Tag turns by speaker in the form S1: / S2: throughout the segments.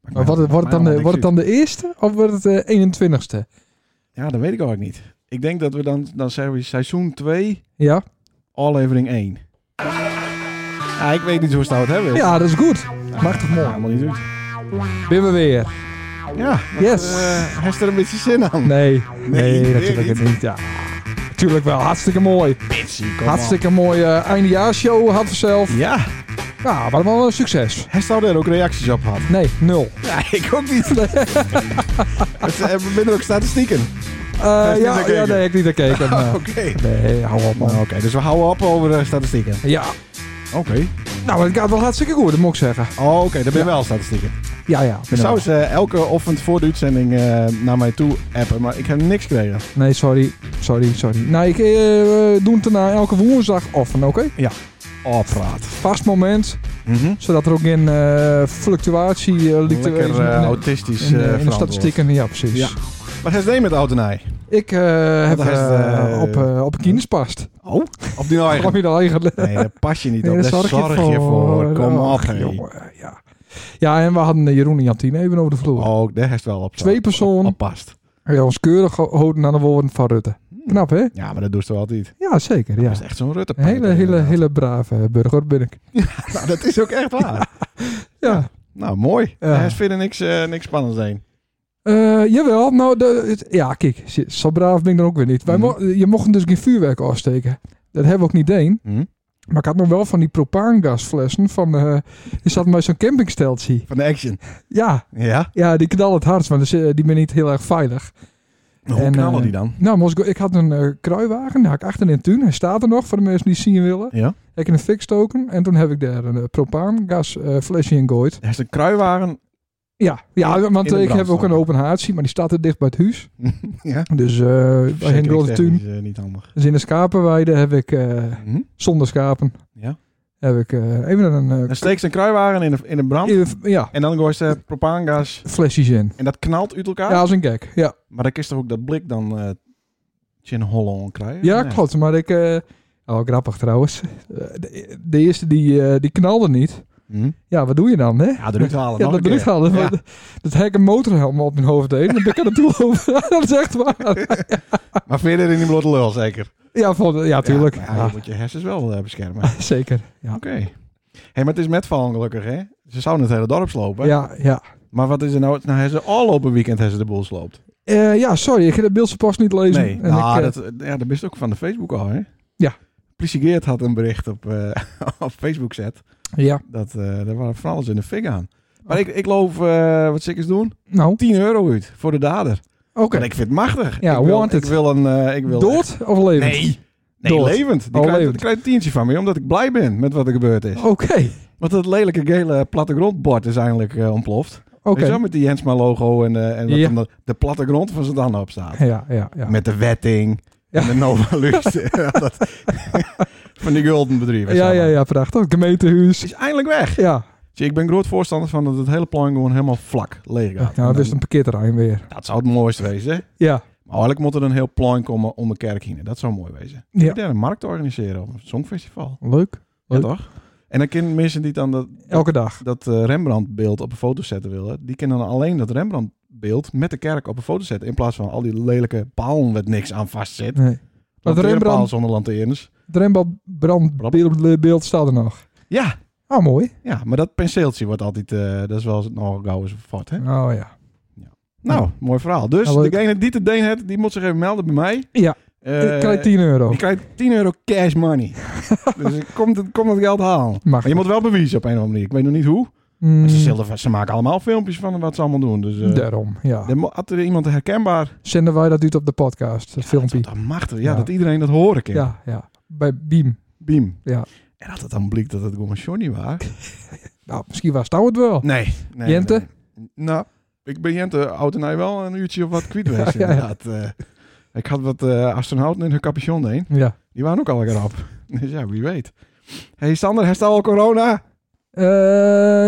S1: Maar wordt het, wordt het dan, de, wordt het dan de eerste of wordt het eh, de 21ste?
S2: Ja, dat weet ik ook niet. Ik denk dat we dan, dan zeggen we seizoen 2,
S1: Ja.
S2: aflevering 1. Ja, ik weet niet hoe snel het hebben.
S1: ja, dat is goed.
S2: machtig mooi. Helemaal niet goed.
S1: Ben we weer.
S2: Ja, dat,
S1: Yes.
S2: eh, heeft er een beetje zin aan?
S1: Nee, nee,
S2: weer
S1: natuurlijk
S2: niet.
S1: niet. Ja. Natuurlijk wel, hartstikke mooi.
S2: Bitsie, kom
S1: hartstikke mooie eh, eindejaarshow had we zelf.
S2: op. Ja,
S1: Ja, maar wel een succes.
S2: hij zou er ook reacties op gehad.
S1: Nee, nul.
S2: Ja, ik ook niet. Het, eh, We binnen ook statistieken.
S1: Eh,
S2: niet naar
S1: ja, ja,
S2: gekeken?
S1: nee, ik niet naar gekeken. maar-
S2: Oké.
S1: Nee, hou op
S2: Nou,
S1: man.
S2: Oké, dus we houden op over eh, statistieken.
S1: Ja,
S2: Oké.
S1: nou, het gaat wel hartstikke goed, dat moet ik zeggen.
S2: Oh, Oké, dan ben je wel statistieken.
S1: Ja, ja.
S2: Ik zou ze eh, elke ochtend voor de uitzending eh, naar mij toe appen, maar ik heb niks gekregen.
S1: Nee, sorry. Sorry, sorry. Nou, ik eh, doe het daarna elke woensdag offen, oké?
S2: Oh, praat.
S1: Vast moment,
S2: Mhm.
S1: zodat er ook geen eh, fluctuatie eh, liet te
S2: Lekker
S1: wezen
S2: eh,
S1: in de-
S2: autistisch
S1: in, de-
S2: eh,
S1: in de
S2: verantwoord.
S1: statistieken. Ja, precies.
S2: Ja. Wat heeft hij met de autonij?
S1: Ik eh, heb
S2: dat is,
S1: eh,
S2: eh,
S1: op, eh, op een kinderspast.
S2: Oh, op die
S1: Kom
S2: eigen.
S1: je dan eigenlijk? Eh,
S2: Nee, daar pas je niet op.
S1: Nee,
S2: daar zorg je voor. Kom
S1: Och,
S2: op, hey.
S1: Oh, jongen, ja. ja, en we hadden eh, Jeroen en Jantine even over de vloer.
S2: Oh, daar heeft wel op.
S1: Twee personen.
S2: Op past.
S1: Ja, ons keurig houden aan de woorden van Rutte. Knap, hè?
S2: Ja, maar dat doet ze wel altijd.
S1: Ja, zeker. Ja.
S2: Dat Hmm. is echt zo'n rutte
S1: Een hele, hele, hele brave eh, burger ben ik.
S2: Nou, dat is ook echt waar.
S1: Ja.
S2: Nou, mooi.
S1: Ja.
S2: Hij is verder niks, eh, niks spannends heen.
S1: Eh, jawel, nou, de, het- ja, kijk, zo- zo braaf ben ik dan ook weer niet. Wij
S2: Mhm.
S1: mo- je mocht dus geen vuurwerk afsteken. Dat hebben we ook niet deen.
S2: Hm?
S1: Maar ik had nog wel van die propaangasflessen van, eh die zaten bij zo'n campingsteltje.
S2: Van de action.
S1: Ja,
S2: Ja?
S1: ja, die knallen het hardst, want dus, eh, die ben niet heel erg veilig.
S2: Hoe
S1: En,
S2: knallen
S1: eh,
S2: die dan?
S1: Nou, moest ik, ik had een eh kruiwagen, daar had ik achter in tuin. Hij staat er nog, voor de mensen die het zien willen.
S2: Ja?
S1: Heb ik in een fik stoken en toen heb ik daar een eh, propaangasflesje in gooid.
S2: Hij is een kruiwagen.
S1: Ja, ja want
S2: In de
S1: ik heb ook een
S2: brandstapel.
S1: open haardsie, maar die staat er dicht bij het huis.
S2: ja?
S1: Dus eh bij een grote tuin.
S2: Is, eh, niet handig.
S1: Dus in de schapenweide heb ik, eh,
S2: Hm?
S1: zonder schapen,
S2: Ja?
S1: heb ik eh, even een... eh,
S2: Dan steekt ze een kruiwagen in de, in de brand.
S1: even- ja,
S2: En dan gooit ze propaangas.
S1: flesjes in.
S2: En dat knalt uit elkaar.
S1: Ja, als een gek. Ja,
S2: Maar dan is toch ook dat blik dan eh Chin Holland krijgen?
S1: ja
S2: Nee.
S1: klopt. Maar ik... eh, oh, grappig trouwens. Eh, De, de eerste die, eh, die knalde niet.
S2: Hm?
S1: Ja, wat doe je dan, hè?
S2: Ja, drukt halen.
S1: Ja, dat
S2: nog een
S1: bedoel ik
S2: keer.
S1: al. Dat,
S2: Ja.
S1: dat hek een motorhelm op mijn hoofd deed. Dan ben ik aan het toelopen. dat is echt waar.
S2: Maar verder in die blote lul, zeker.
S1: Ja, van, ja tuurlijk.
S2: Ja,
S1: Ja,
S2: maar ja, je moet je hersens wel eh, beschermen. Oké.
S1: Zeker. Ja.
S2: hey, maar het is met vallen gelukkig, hè? Ze zouden het hele dorp slopen.
S1: Ja, ja.
S2: Maar wat is er nou? Nou, hebben ze al op een weekend hebben ze de boel sloopt.
S1: Eh, ja, sorry. Ik heb de beeldse pas niet lezen.
S2: Nee,
S1: En
S2: nou,
S1: ik, eh,
S2: dat, ja, dat is ook van de Facebook al, hè?
S1: Ja.
S2: Politie Geert had een bericht op, eh, op Facebook zet.
S1: Ja,
S2: Dat eh er waren van alles in de fik aan. Maar
S1: Oh.
S2: ik, ik geloof, eh, wat ze eens doen,
S1: nou.
S2: 10 euro uit voor de dader.
S1: Oké.
S2: En ik vind het machtig.
S1: Ja,
S2: ik wil,
S1: wanted.
S2: Ik wil een... eh, ik wil
S1: Dood of levend?
S2: Nee. Nee,
S1: Dood.
S2: levend. Die
S1: Oh,
S2: krijgt,
S1: levend.
S2: die krijgt een tientje van mij, omdat ik blij ben met wat er gebeurd is.
S1: Oké,
S2: Want dat lelijke gele plattegrondbord is eindelijk eh, ontploft.
S1: oké.
S2: Weet je wel, met die Jensma logo en, eh, en wat
S1: Ja.
S2: dan de, de plattegrond van Zandam op staat.
S1: Ja, ja, ja.
S2: Met de wetting
S1: Ja.
S2: en de Nova Lux. Ja, dat- van die golden bedrijven.
S1: ja, ja, ja, prachtig. Gemeentehuis.
S2: Is eindelijk weg.
S1: Ja,
S2: Zie, ik ben groot voorstander van dat het hele plein gewoon helemaal vlak leeg gaat.
S1: nou,
S2: En
S1: dat is
S2: dan-
S1: een parkeerterrein weer.
S2: dat zou het mooiste wezen.
S1: Ja,
S2: Maar eigenlijk moet er een heel plein komen om de kerk heen. Dat zou mooi wezen.
S1: Ja.
S2: Ja. een markt organiseren of een songfestival.
S1: leuk.
S2: Ja,
S1: Leuk.
S2: toch? En dan kunnen mensen die dan dat,
S1: Elke dag.
S2: dat eh, Rembrandt-beeld op een foto zetten willen, die kunnen dan alleen dat Rembrandt-beeld met de kerk op een foto zetten. In plaats van al die lelijke palen met niks aan vastzit.
S1: Nee. Maar de
S2: Lanteerpaal
S1: Rembrandt,
S2: zonder lanteerns.
S1: de Rembrandt beeld, beeld staat er nog.
S2: Ja,
S1: Oh, mooi.
S2: ja, maar dat penseeltje wordt altijd, eh, dat is wel eens- nogal gauw eens vervat. Hè?
S1: Oh ja.
S2: Nou, mooi verhaal. Dus
S1: Nou, leuk.
S2: degene die het deen heeft, die moet zich even melden bij mij.
S1: Ja.
S2: Eh,
S1: ik krijg 10 euro.
S2: Je krijgt 10 euro cash money. dus ik kom, dat- kom dat geld halen.
S1: Mag.
S2: Maar je moet wel bewijzen op een of andere manier. Ik weet nog niet hoe.
S1: Mm,
S2: Maar Ze, zullen- ze maken allemaal filmpjes van wat ze allemaal doen. Dus eh
S1: daarom, ja.
S2: dan mo- had er iemand herkenbaar.
S1: Zenden wij dat uit op de podcast, het filmpje.
S2: Dat machtig. Ja,
S1: Ja.
S2: dat iedereen dat horen kan.
S1: Ja, ja. Bij Beam.
S2: Beam.
S1: Ja.
S2: En dat het dan blijkt dat het gewoon Johnny was.
S1: Nou, misschien was het het wel.
S2: Nee. nee
S1: Jente?
S2: nee. Nou, ik ben Jente oud en hij wel een uurtje of wat kwijt
S1: Ja,
S2: geweest.
S1: ja, ja.
S2: inderdaad. Eh, ik had wat eh, astronauten in hun capuchon heen.
S1: Ja.
S2: Die waren ook al lekker op. dus ja, wie weet. hey Sander, herstel al corona?
S1: Eh,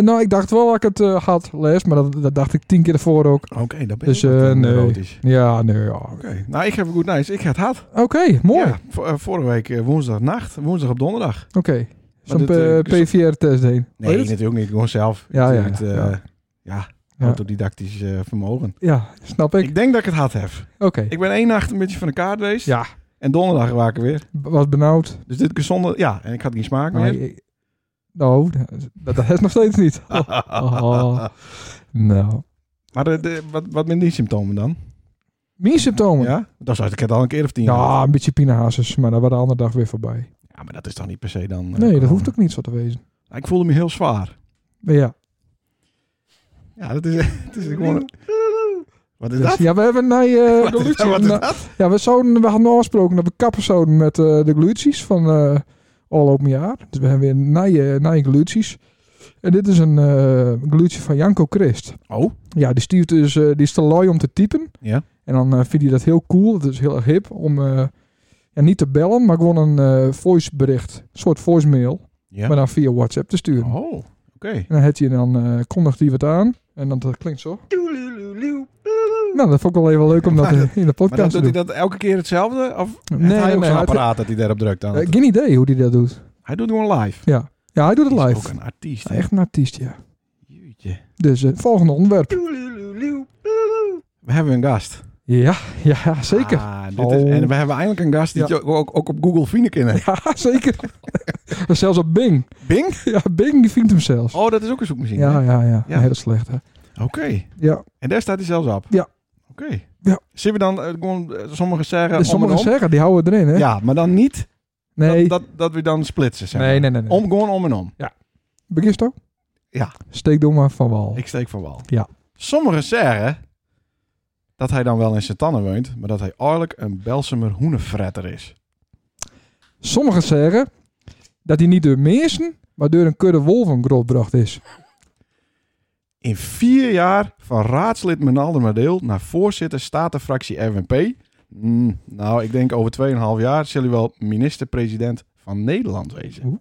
S1: nou, ik dacht wel dat ik het eh, had, les, maar dat, dat dacht ik tien keer ervoor ook.
S2: Oké, dat ben
S1: Dus,
S2: je
S1: eh,
S2: wat, eh,
S1: nee.
S2: neurotisch.
S1: Ja, nee, ja.
S2: Oké, nou ik heb een goed nieuws. Ik heb het hard.
S1: Oké, mooi.
S2: Ja, v- eh, vorige week eh, woensdagnacht, woensdag op donderdag.
S1: Oké. Zo'n
S2: dit, eh,
S1: PVR-test heen.
S2: natuurlijk niet. Gewoon zelf.
S1: Ja, ja,
S2: Het, eh,
S1: ja.
S2: ja,
S1: Ja.
S2: autodidactisch eh, vermogen.
S1: Ja, snap ik.
S2: Ik denk dat ik het had heb.
S1: Oké.
S2: Ik ben één nacht een beetje van de kaart geweest.
S1: Ja,
S2: En donderdag waren ik er weer.
S1: b- was benauwd.
S2: Dus dit keer zonder... Ja, en ik had geen smaak
S1: Maar
S2: meer.
S1: ik- nou, dat, dat is nog steeds niet. Oh, oh. Nou.
S2: Maar de, de- wat, wat met die symptomen dan?
S1: Mijn symptomen? Ja,
S2: Ja? Dat zou ik het al een keer of tien.
S1: een beetje pinahazes, maar dat was de andere dag weer voorbij.
S2: Ja, maar dat is dan niet per se dan... eh,
S1: Nee, dat
S2: corona.
S1: hoeft ook niet zo te wezen.
S2: Ik voelde me heel zwaar.
S1: Maar ja.
S2: Ja, dat is, het is gewoon... Wat is
S1: Dus,
S2: dat?
S1: ja, we hebben naar eh
S2: Wat
S1: de
S2: is,
S1: Lucie.
S2: wat is
S1: na-
S2: dat?
S1: Ja, we, zouden, we hadden afgesproken dat we kappen zouden met eh, de glutjes van eh al open jaar. Dus we hebben weer nieuwe, nieuwe glutjes. En dit is een eh glutje van Janko Christ.
S2: Oh,
S1: Ja, die, stuurt dus, eh, die is te lui om te typen.
S2: ja.
S1: En dan eh, vind je dat heel cool. Dat is heel erg hip om eh, ja, niet te bellen, maar gewoon een voice voicebericht. Een soort voicemail.
S2: ja.
S1: Maar dan via WhatsApp te sturen.
S2: Oh, oké.
S1: En dan heb je dan eh kondigt hij wat aan. En dan dat klinkt zo. Nou, dat vond ik wel even leuk om dat
S2: Maar
S1: in
S2: dat-
S1: de
S2: Maar dan
S1: podcast
S2: doet
S1: te
S2: hij
S1: doen.
S2: dat elke keer hetzelfde? Of
S1: Nee,
S2: heeft hij
S1: nee,
S2: ook zo'n
S1: hij-
S2: apparaat dat hij daarop drukt dan?
S1: Eh, geen idee hoe hij dat doet.
S2: hij doet gewoon live.
S1: Ja, hij doet het
S2: Hij is
S1: live. Ah,
S2: ook een artiest. hè?
S1: Echt een artiest, ja.
S2: Jeetje.
S1: Dus eh volgende onderwerp.
S2: We hebben een gast.
S1: Ja, ja zeker.
S2: Ah, dit
S1: Oh.
S2: is, en we hebben eindelijk een gast die
S1: Ja.
S2: je ook, ook, ook op Google vinden kan.
S1: Ja, zeker. zelfs op Bing.
S2: Bing?
S1: Ja, Bing die vindt hem zelfs.
S2: Oh, dat is ook een zoekmachine. hè?
S1: ja, ja, ja.
S2: Ja.
S1: Nee, dat is slecht, hè.
S2: Oké.
S1: Ja.
S2: En daar staat hij zelfs op?
S1: Ja.
S2: Oké.
S1: Ja.
S2: Zien we dan eh, gewoon, eh, sommigen zeggen
S1: dus
S2: om en
S1: sommigen
S2: om?
S1: zeggen, die houden erin, hè.
S2: Ja, maar dan niet
S1: nee.
S2: dat, dat, dat we dan splitsen. Zeg
S1: nee,
S2: maar.
S1: nee, nee, nee.
S2: Om, gewoon om en om.
S1: Begin toch?
S2: Ja.
S1: Steek door maar van wal.
S2: Ik steek voor wal.
S1: Ja.
S2: Sommigen zeggen dat hij dan wel in Santanne woont, maar dat hij eigenlijk een Belsemer hoenenfretter is.
S1: Sommigen zeggen dat hij niet door mensen, maar door een kudde wolven grootbracht is.
S2: In vier jaar van raadslid Menalder Madeel naar voorzitter statenfractie RWP. Mm, nou, ik denk over 2,5 jaar zal hij wel minister-president van Nederland wezen.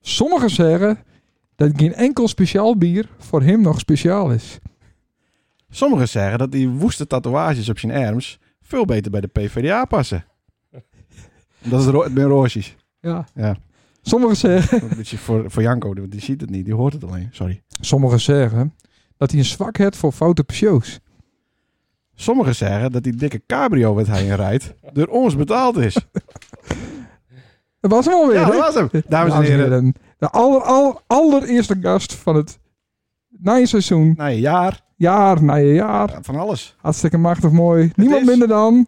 S1: Sommigen zeggen dat geen enkel speciaal bier voor hem nog speciaal is.
S2: Sommigen zeggen dat die woeste tatoeages op zijn arms veel beter bij de PvdA passen. Dat is ro- het ben roosjes.
S1: Ja.
S2: Ja.
S1: Sommigen zeggen...
S2: Een beetje voor, voor Janko, want die ziet het niet, die hoort het alleen. Sorry.
S1: Sommigen zeggen dat hij een zwak heeft voor foute shows.
S2: Sommigen zeggen dat die dikke cabrio wat hij in rijdt, door ons betaald is.
S1: Dat was hem alweer,
S2: Ja, dat
S1: hè?
S2: was hem. Dames en heren,
S1: De aller, aller, allereerste gast van het nieuwe seizoen.
S2: na een jaar
S1: Jaar na jaar.
S2: ja, van alles.
S1: Hartstikke machtig mooi. Niemand
S2: is-
S1: minder dan...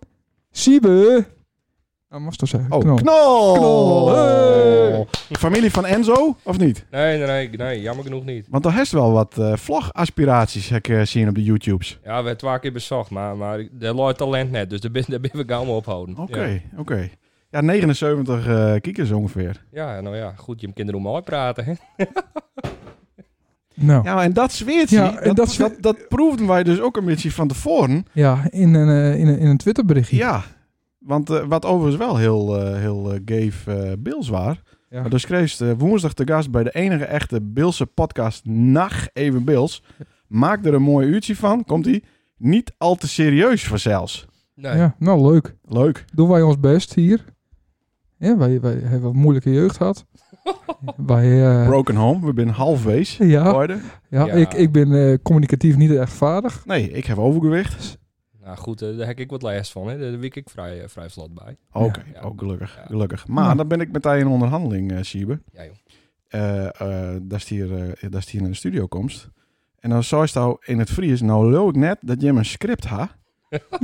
S1: Siebe. Dat moest toch zeggen.
S2: Oh, knol!
S1: Knol. Knol, hey!
S2: Familie van Enzo, of niet?
S3: Eh. Nee, nee, nee, nee, jammer genoeg niet.
S2: Want daar heeft wel wat eh vlogaspiraties, heb ik eh, zien op de YouTubes.
S3: Ja, we hebben twee keer bezocht, maar, maar er loopt talent net, dus daar ben, daar ben we gauw mee ophouden.
S2: Oké, oké. Ja, 79 eh kiekers ongeveer.
S3: Ja. ja, nou ja, goed, je hem kinderen om mooi praten, hè?
S1: Nou, ja,
S2: Ja, en dat zweert
S1: Ja,
S2: hij.
S1: en
S2: Dat,
S1: dat
S2: dat,
S1: zweert-
S2: dat, proefden wij dus ook een beetje van tevoren.
S1: in, een, eh, in, een, in een Twitterberichtje.
S2: Ja. Want eh, wat overigens wel heel, eh heel eh, gave eh, Bills waar.
S1: Ja.
S2: Maar dus kreeg ze, eh, woensdag te gast bij de enige echte Bilse podcast Nacht Even Bills. Maak er een mooi uurtje van, komt ie. Niet al te serieus voor zelfs.
S3: Nee.
S1: Ja, nou leuk.
S2: Leuk.
S1: Doen wij ons best hier. Ja, wij, wij hebben wat moeilijke jeugd gehad. wij... eh,
S2: Broken Home, we zijn halfwees.
S3: Oh.
S1: ja,
S2: Hoorde?
S1: ja,
S3: Ja.
S1: Ik, ik ben eh, communicatief niet echt vaardig.
S2: Nee, ik heb overgewicht.
S3: Nou goed, eh, daar heb ik wat last van, hè? Daar wik ik vrij, eh, vrij vlot bij.
S2: Oké,
S3: Ja.
S2: oh, gelukkig,
S3: Ja.
S2: gelukkig. Maar
S1: Ja.
S2: dan ben ik met hij in onderhandeling, eh Siebe.
S3: Ja, joh.
S2: eh eh, dat is hier, eh, dat is hier in de studio komst. En dan zei ze nou in het Fries, nou lul ik net dat je hem een script ha.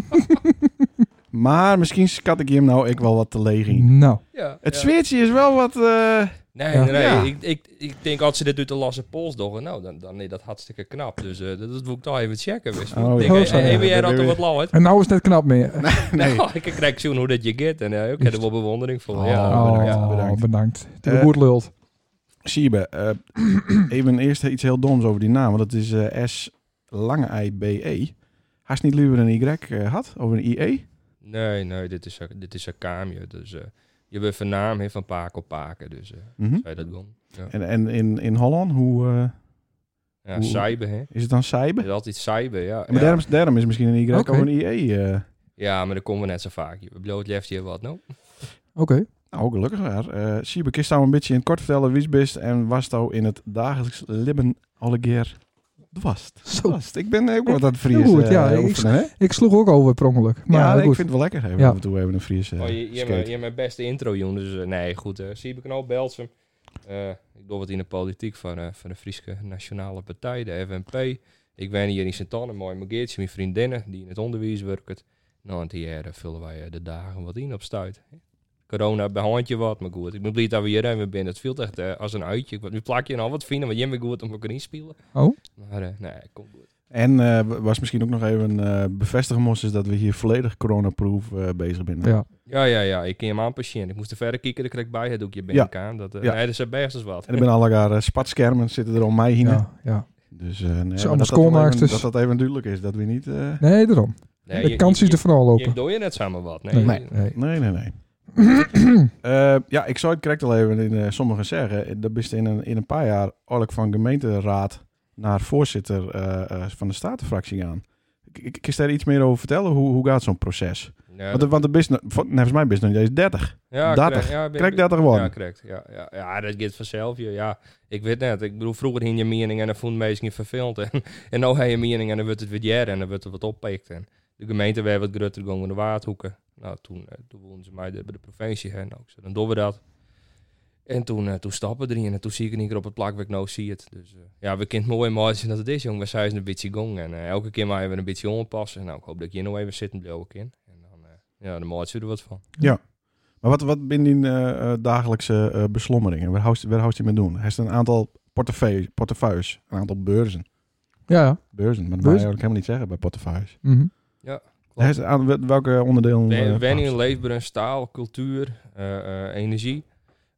S2: maar misschien skat ik je hem nou ik wel wat te leeg in.
S1: Nou,
S3: Ja,
S2: Het
S3: ja.
S2: zweertje is wel wat... eh,
S3: Nee,
S1: Ja.
S3: nee, nee,
S2: Ja.
S3: Ik, ik, ik denk als ze dit doet de Lasse Pols doen, nou, dan, dan is dat hartstikke knap. Dus eh, dat, dat moet ik toch even checken, wist je.
S2: Oh,
S3: ik
S2: ja.
S3: denk,
S1: Oh, zo,
S3: hey, hey,
S1: ja.
S3: ben jij dat toch wat lauw, hè?
S1: en nou is het net knap meer.
S2: nee.
S3: Nou, ik krijg zoen hoe dat je get en eh, ik heb er wel bewondering voor.
S2: Oh,
S3: ja,
S1: Oh,
S2: bedankt,
S1: bedankt.
S2: bedankt.
S1: De
S2: Eh,
S1: woord lult.
S2: Siebe, eh, even eerst iets heel doms over die naam. Want dat is eh, S lange I B E. Haast niet liever een Y eh, had? Of een IE?
S3: Nee, nee, dit is, een- dit is een kaamje. Dus eh, je bent van naam hè, van paken op paken. Dus eh
S2: Mhm.
S3: zou je dat doen. Ja,
S2: En, en in, in Holland, hoe eh,
S3: ja
S2: Hoe-
S3: cyber, hè?
S2: is het dan Saibe?
S3: Dat is altijd cyber, ja.
S2: Maar
S3: ja.
S2: daarom, daarom is misschien een Y
S1: Oké.
S2: of een IE. eh,
S3: ja, maar dat komen we net zo vaak. Je bloot left hier wat, nou?
S1: Oké.
S2: Nou, gelukkig waar. Eh Siebe, kist nou een beetje in het kort vertellen wie je bent en was nou in het dagelijks libben allegeer dwast.
S1: Zo.
S2: Dwast. Ik ben ook wat aan het
S1: Heel
S2: Fries
S1: goed,
S2: eh,
S1: ja, ik-
S2: oefenen, hè?
S1: Ik sloeg ook over per ongeluk. Maar
S2: ja, nee,
S1: goed.
S2: ik vind het wel lekker. Even
S1: Ja.
S2: af en toe even een Fries eh,
S3: Oh, je, je, hebt,
S2: skate.
S3: mijn- je hebt mijn beste intro, jongen. Dus eh, nee, goed. eh Siebenknoop, Belsum. Eh, ik doe wat in de politiek van, eh, van de Friese Nationale Partij, de FNP. Ik ben hier in Sint-Anne, mooi mijn geertje, mijn vriendinnen die in het onderwijs werken. Nou, en die jaren vullen wij eh, de dagen wat in op stuit. Corona behandelt je wat, maar goed. Ik ben blij dat we hier even binnen. Het viel echt eh, als een uitje. Ik word- Nu plak je al wat vinden, want jij bent goed om elkaar in te spelen.
S1: Oh.
S3: Maar eh, nee, komt goed.
S2: En eh, was misschien ook nog even eh bevestigen moest, is dat we hier volledig coronaproof eh bezig zijn.
S1: Ja.
S3: Ja, ja, ja. Ik ken hem aan patiënt. Ik moest er verder kijken, dan kreeg ik bij het doekje ben
S2: Ja.
S3: ik aan. Dat, eh,
S2: Ja.
S3: Nee, dat is het best als wat.
S2: En er zijn alle eh, spatschermen zitten er om mij heen.
S1: Ja, ja.
S2: Dus eh, nee, maar
S1: allemaal
S2: dat, dat, wel even,
S1: schoonmaaksters.
S2: dat dat even duidelijk is, dat we niet... eh,
S1: Nee, daarom.
S3: Nee,
S1: de
S3: je-
S1: kans
S3: je-
S1: is er van al
S3: Je
S1: lopen.
S3: doe je net samen wat. Nee.
S1: Nee.
S2: Nee.
S1: Nee.
S2: Nee, nee, nee. Eh, ja, ik zou het correct al even in eh, sommigen zeggen. Dat is in een, in een paar jaar eigenlijk van gemeenteraad naar voorzitter eh, eh, van de statenfractie aan. Ik- Ik kan je daar iets meer over vertellen? Hoe, hoe gaat zo'n proces?
S3: Ja,
S2: want, de- want de bus, nou, vol- volgens mij is nog niet eens 30.
S3: ja,
S2: 30.
S3: correct. Ja, ben-
S2: Krijg ik 30
S3: Ja,
S2: gewoon?
S3: correct. Ja, ja, ja, dat gaat vanzelf. Ja, ja, ik weet net. Ik bedoel, vroeger hing je mening en dan vond mensen je verveeld. En, en nou heb je mening en dan wordt het weer jaren en dan wordt het wat oppikt. En de gemeente werd wat groter gegaan in de waardhoeken. Nou, toen, eh, toen woonden ze mij de- bij de provincie. Hè, nou, ik zei, dan doen we dat. En toen, eh, toen stappen we erin en toen zie ik in één keer op het plak waar ik nou zie het. Dus eh, ja, we kunnen het mooi maar zien dat het is, jongen. We zijn een beetje gong en eh, elke keer maar we een beetje onpassen. Nou, ik hoop dat je nou even zitten blijven in. En dan, eh, ja, dan maakt ze er wat van.
S2: Maar wat, wat binnen die eh, eh, dagelijkse eh, beslommeringen? Waar houdt waar houdt hij mee doen? Hij heeft een aantal portefeuille- portefeuilles, een aantal beurzen.
S1: Ja, ja.
S2: Beurzen, maar
S1: Beurzen?
S2: dat mag je eigenlijk helemaal niet zeggen bij portefeuilles.
S1: Mhm.
S2: Hij heeft een aantal- welke onderdelen? eh,
S3: Wen-
S2: vast?
S3: Wenning, leefbaar en staal, cultuur, eh, eh, energie.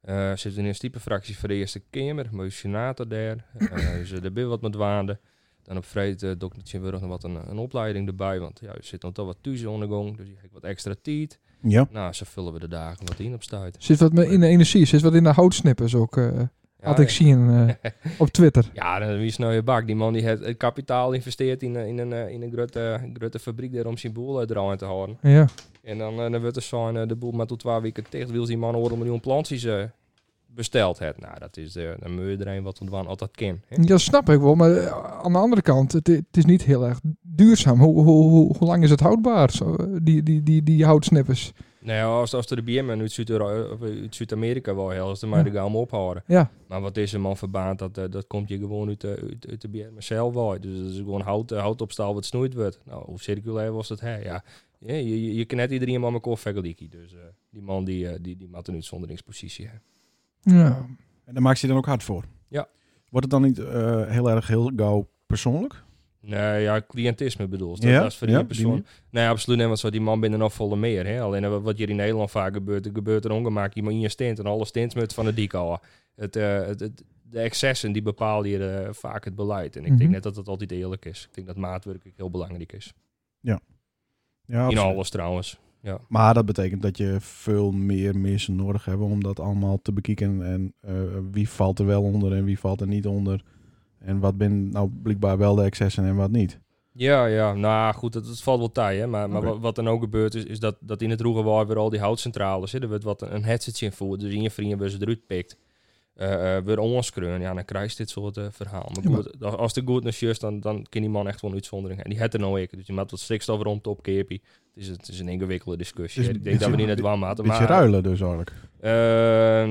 S3: Eh zit in een type fractie voor de Eerste Kamer, maar u is senator daar. Eh dus eh, daar ben je wat met waande. Dan op vrijdag uh, dokter nog wat een, een opleiding erbij, want ja, u zit dan toch wat thuis ondergang, dus je krijgt wat extra tijd.
S2: Ja.
S3: Nou, zo vullen we de dagen wat in op stuit.
S1: Zit wat me- in de energie, zit wat in de houtsnippers ook. eh,
S3: Ja,
S1: had ik zien eh, op Twitter.
S3: Ja, dan wie is nou je bak? Die man die het, het kapitaal investeert in, een- in een, eh, in een grote, grote fabriek daar om zijn boel uit te houden.
S1: Ja.
S3: En dan, eh, dan wordt er zo'n eh, de boel maar tot twee weken dicht. Wil die man horen een miljoen plantjes eh, besteld het. Nou, dat is eh dan moet je er een wat ontwaan altijd kind.
S1: ja, snap ik wel. Maar eh, aan de andere kant, het, het is niet heel erg duurzaam. Hoe, hoe, hoe, hoe lang is het houdbaar, zo, eh, die, die, die, die houtsnippers?
S3: Nou ja, als, als er de BM'en uit Zuid-Euro- eh, of uit Zuid-Amerika wel heel, als de maar
S1: Ja.
S3: de gaan ophouden.
S1: Ja.
S3: Maar wat is een man verbaand? Dat, eh, dat komt je gewoon uit, de uit, uit de BM zelf wel. Dus dat is gewoon hout, eh, hout op staal wat snoeid wordt. Nou, hoe circulair was dat? Hè? Ja. Ja, je, je, je knet iedereen maar elkaar vergelijken. Dus eh, die man die, eh, die, die maakt een uitzonderingspositie. hè.
S1: Ja.
S2: En daar maakt hij dan ook hard voor.
S3: Ja.
S2: Wordt het dan niet eh, heel erg heel gauw persoonlijk?
S3: Nee, ja, cliëntisme bedoel je. Dat,
S2: Ja,
S3: dat is voor
S2: ja,
S3: die persoon.
S2: die-
S3: nee, absoluut niet, want zo die man binnen nog volle meer. Hè? Alleen eh, wat- wat hier in Nederland vaak gebeurt, er gebeurt er ongemaak. Je moet in je stint en alle stints met van de dik houden. Het, eh, het, het- de excessen die bepalen hier eh, vaak het beleid. En ik
S1: Mhm.
S3: denk net dat het altijd eerlijk is. Ik denk dat maatwerk ook heel belangrijk is.
S2: Ja,
S3: In
S2: absoluut.
S3: alles trouwens.
S2: Maar dat betekent dat je veel meer mensen nodig hebt om dat allemaal te bekijken. En eh, wie valt er wel onder en wie valt er niet onder. En wat ben nou blijkbaar wel de excessen en wat niet.
S3: Ja, ja, nou goed, dat, dat valt wel tij, hè. Maar, maar
S2: Oké.
S3: wat, wat dan ook gebeurt, is, is dat, dat in het Roegenwaard weer al die houtcentrales zitten. Er wordt wat een headsetje in voor, dus in je vrienden weer ze eruit pikt. eh eh, weer onskreun, ja, dan krijg je dit soort eh, verhaal. Maar
S1: Ja, maar-
S3: goed, als- als de goed naar is, dan, dan kan die man echt wel een uitzondering. En die had er nou ik, dus je maakt wat stikstof rond op, keerpie. Het is, het is een ingewikkelde discussie.
S2: Het is
S3: hè. ik denk dat we die net warm hadden.
S2: Een beetje
S3: maar-
S2: ruilen dus eigenlijk.
S3: eh,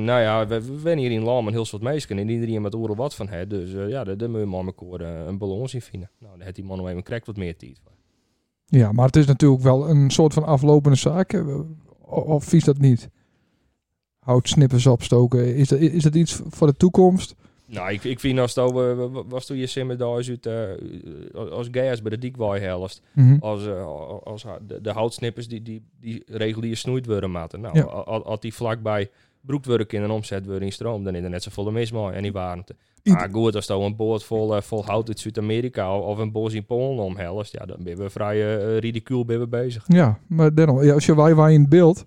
S3: nou ja, we, we zijn hier in Lam een heel soort meisjes en iedereen met oren wat van hè. Dus eh, ja, daar daar moet je maar met elkaar, eh, een balans in vinden. Nou, dan had die man nog even krijgt wat meer tijd. voor.
S1: ja, maar het is natuurlijk wel een soort van aflopende zaak. eh, o- Of vies dat niet? Houtsnippers opstoken, is dat, is dat iets voor de toekomst?
S3: Nou, ik, ik vind als het over, wa- wa- was toen je simmer daar is uit, eh, als- als gas bij de dikwaai helft,
S1: Mhm.
S3: als, eh, als ha- de, de houtsnippers die, die, die regulier snoeid worden maten. Nou,
S1: Ja.
S3: a- a- als die vlakbij broekwerk in en omzet worden in stroom, dan is er net zo volle mis mee en die warmte.
S1: Ieder-
S3: Maar goed, als dan een boord vol, eh, vol hout uit Zuid-Amerika of, of een bos in Polen omhelst, ja, dan ben we vrij eh, ridicuul ben we bezig.
S1: Ja, maar daarom, ja, als je wij, wij in het beeld,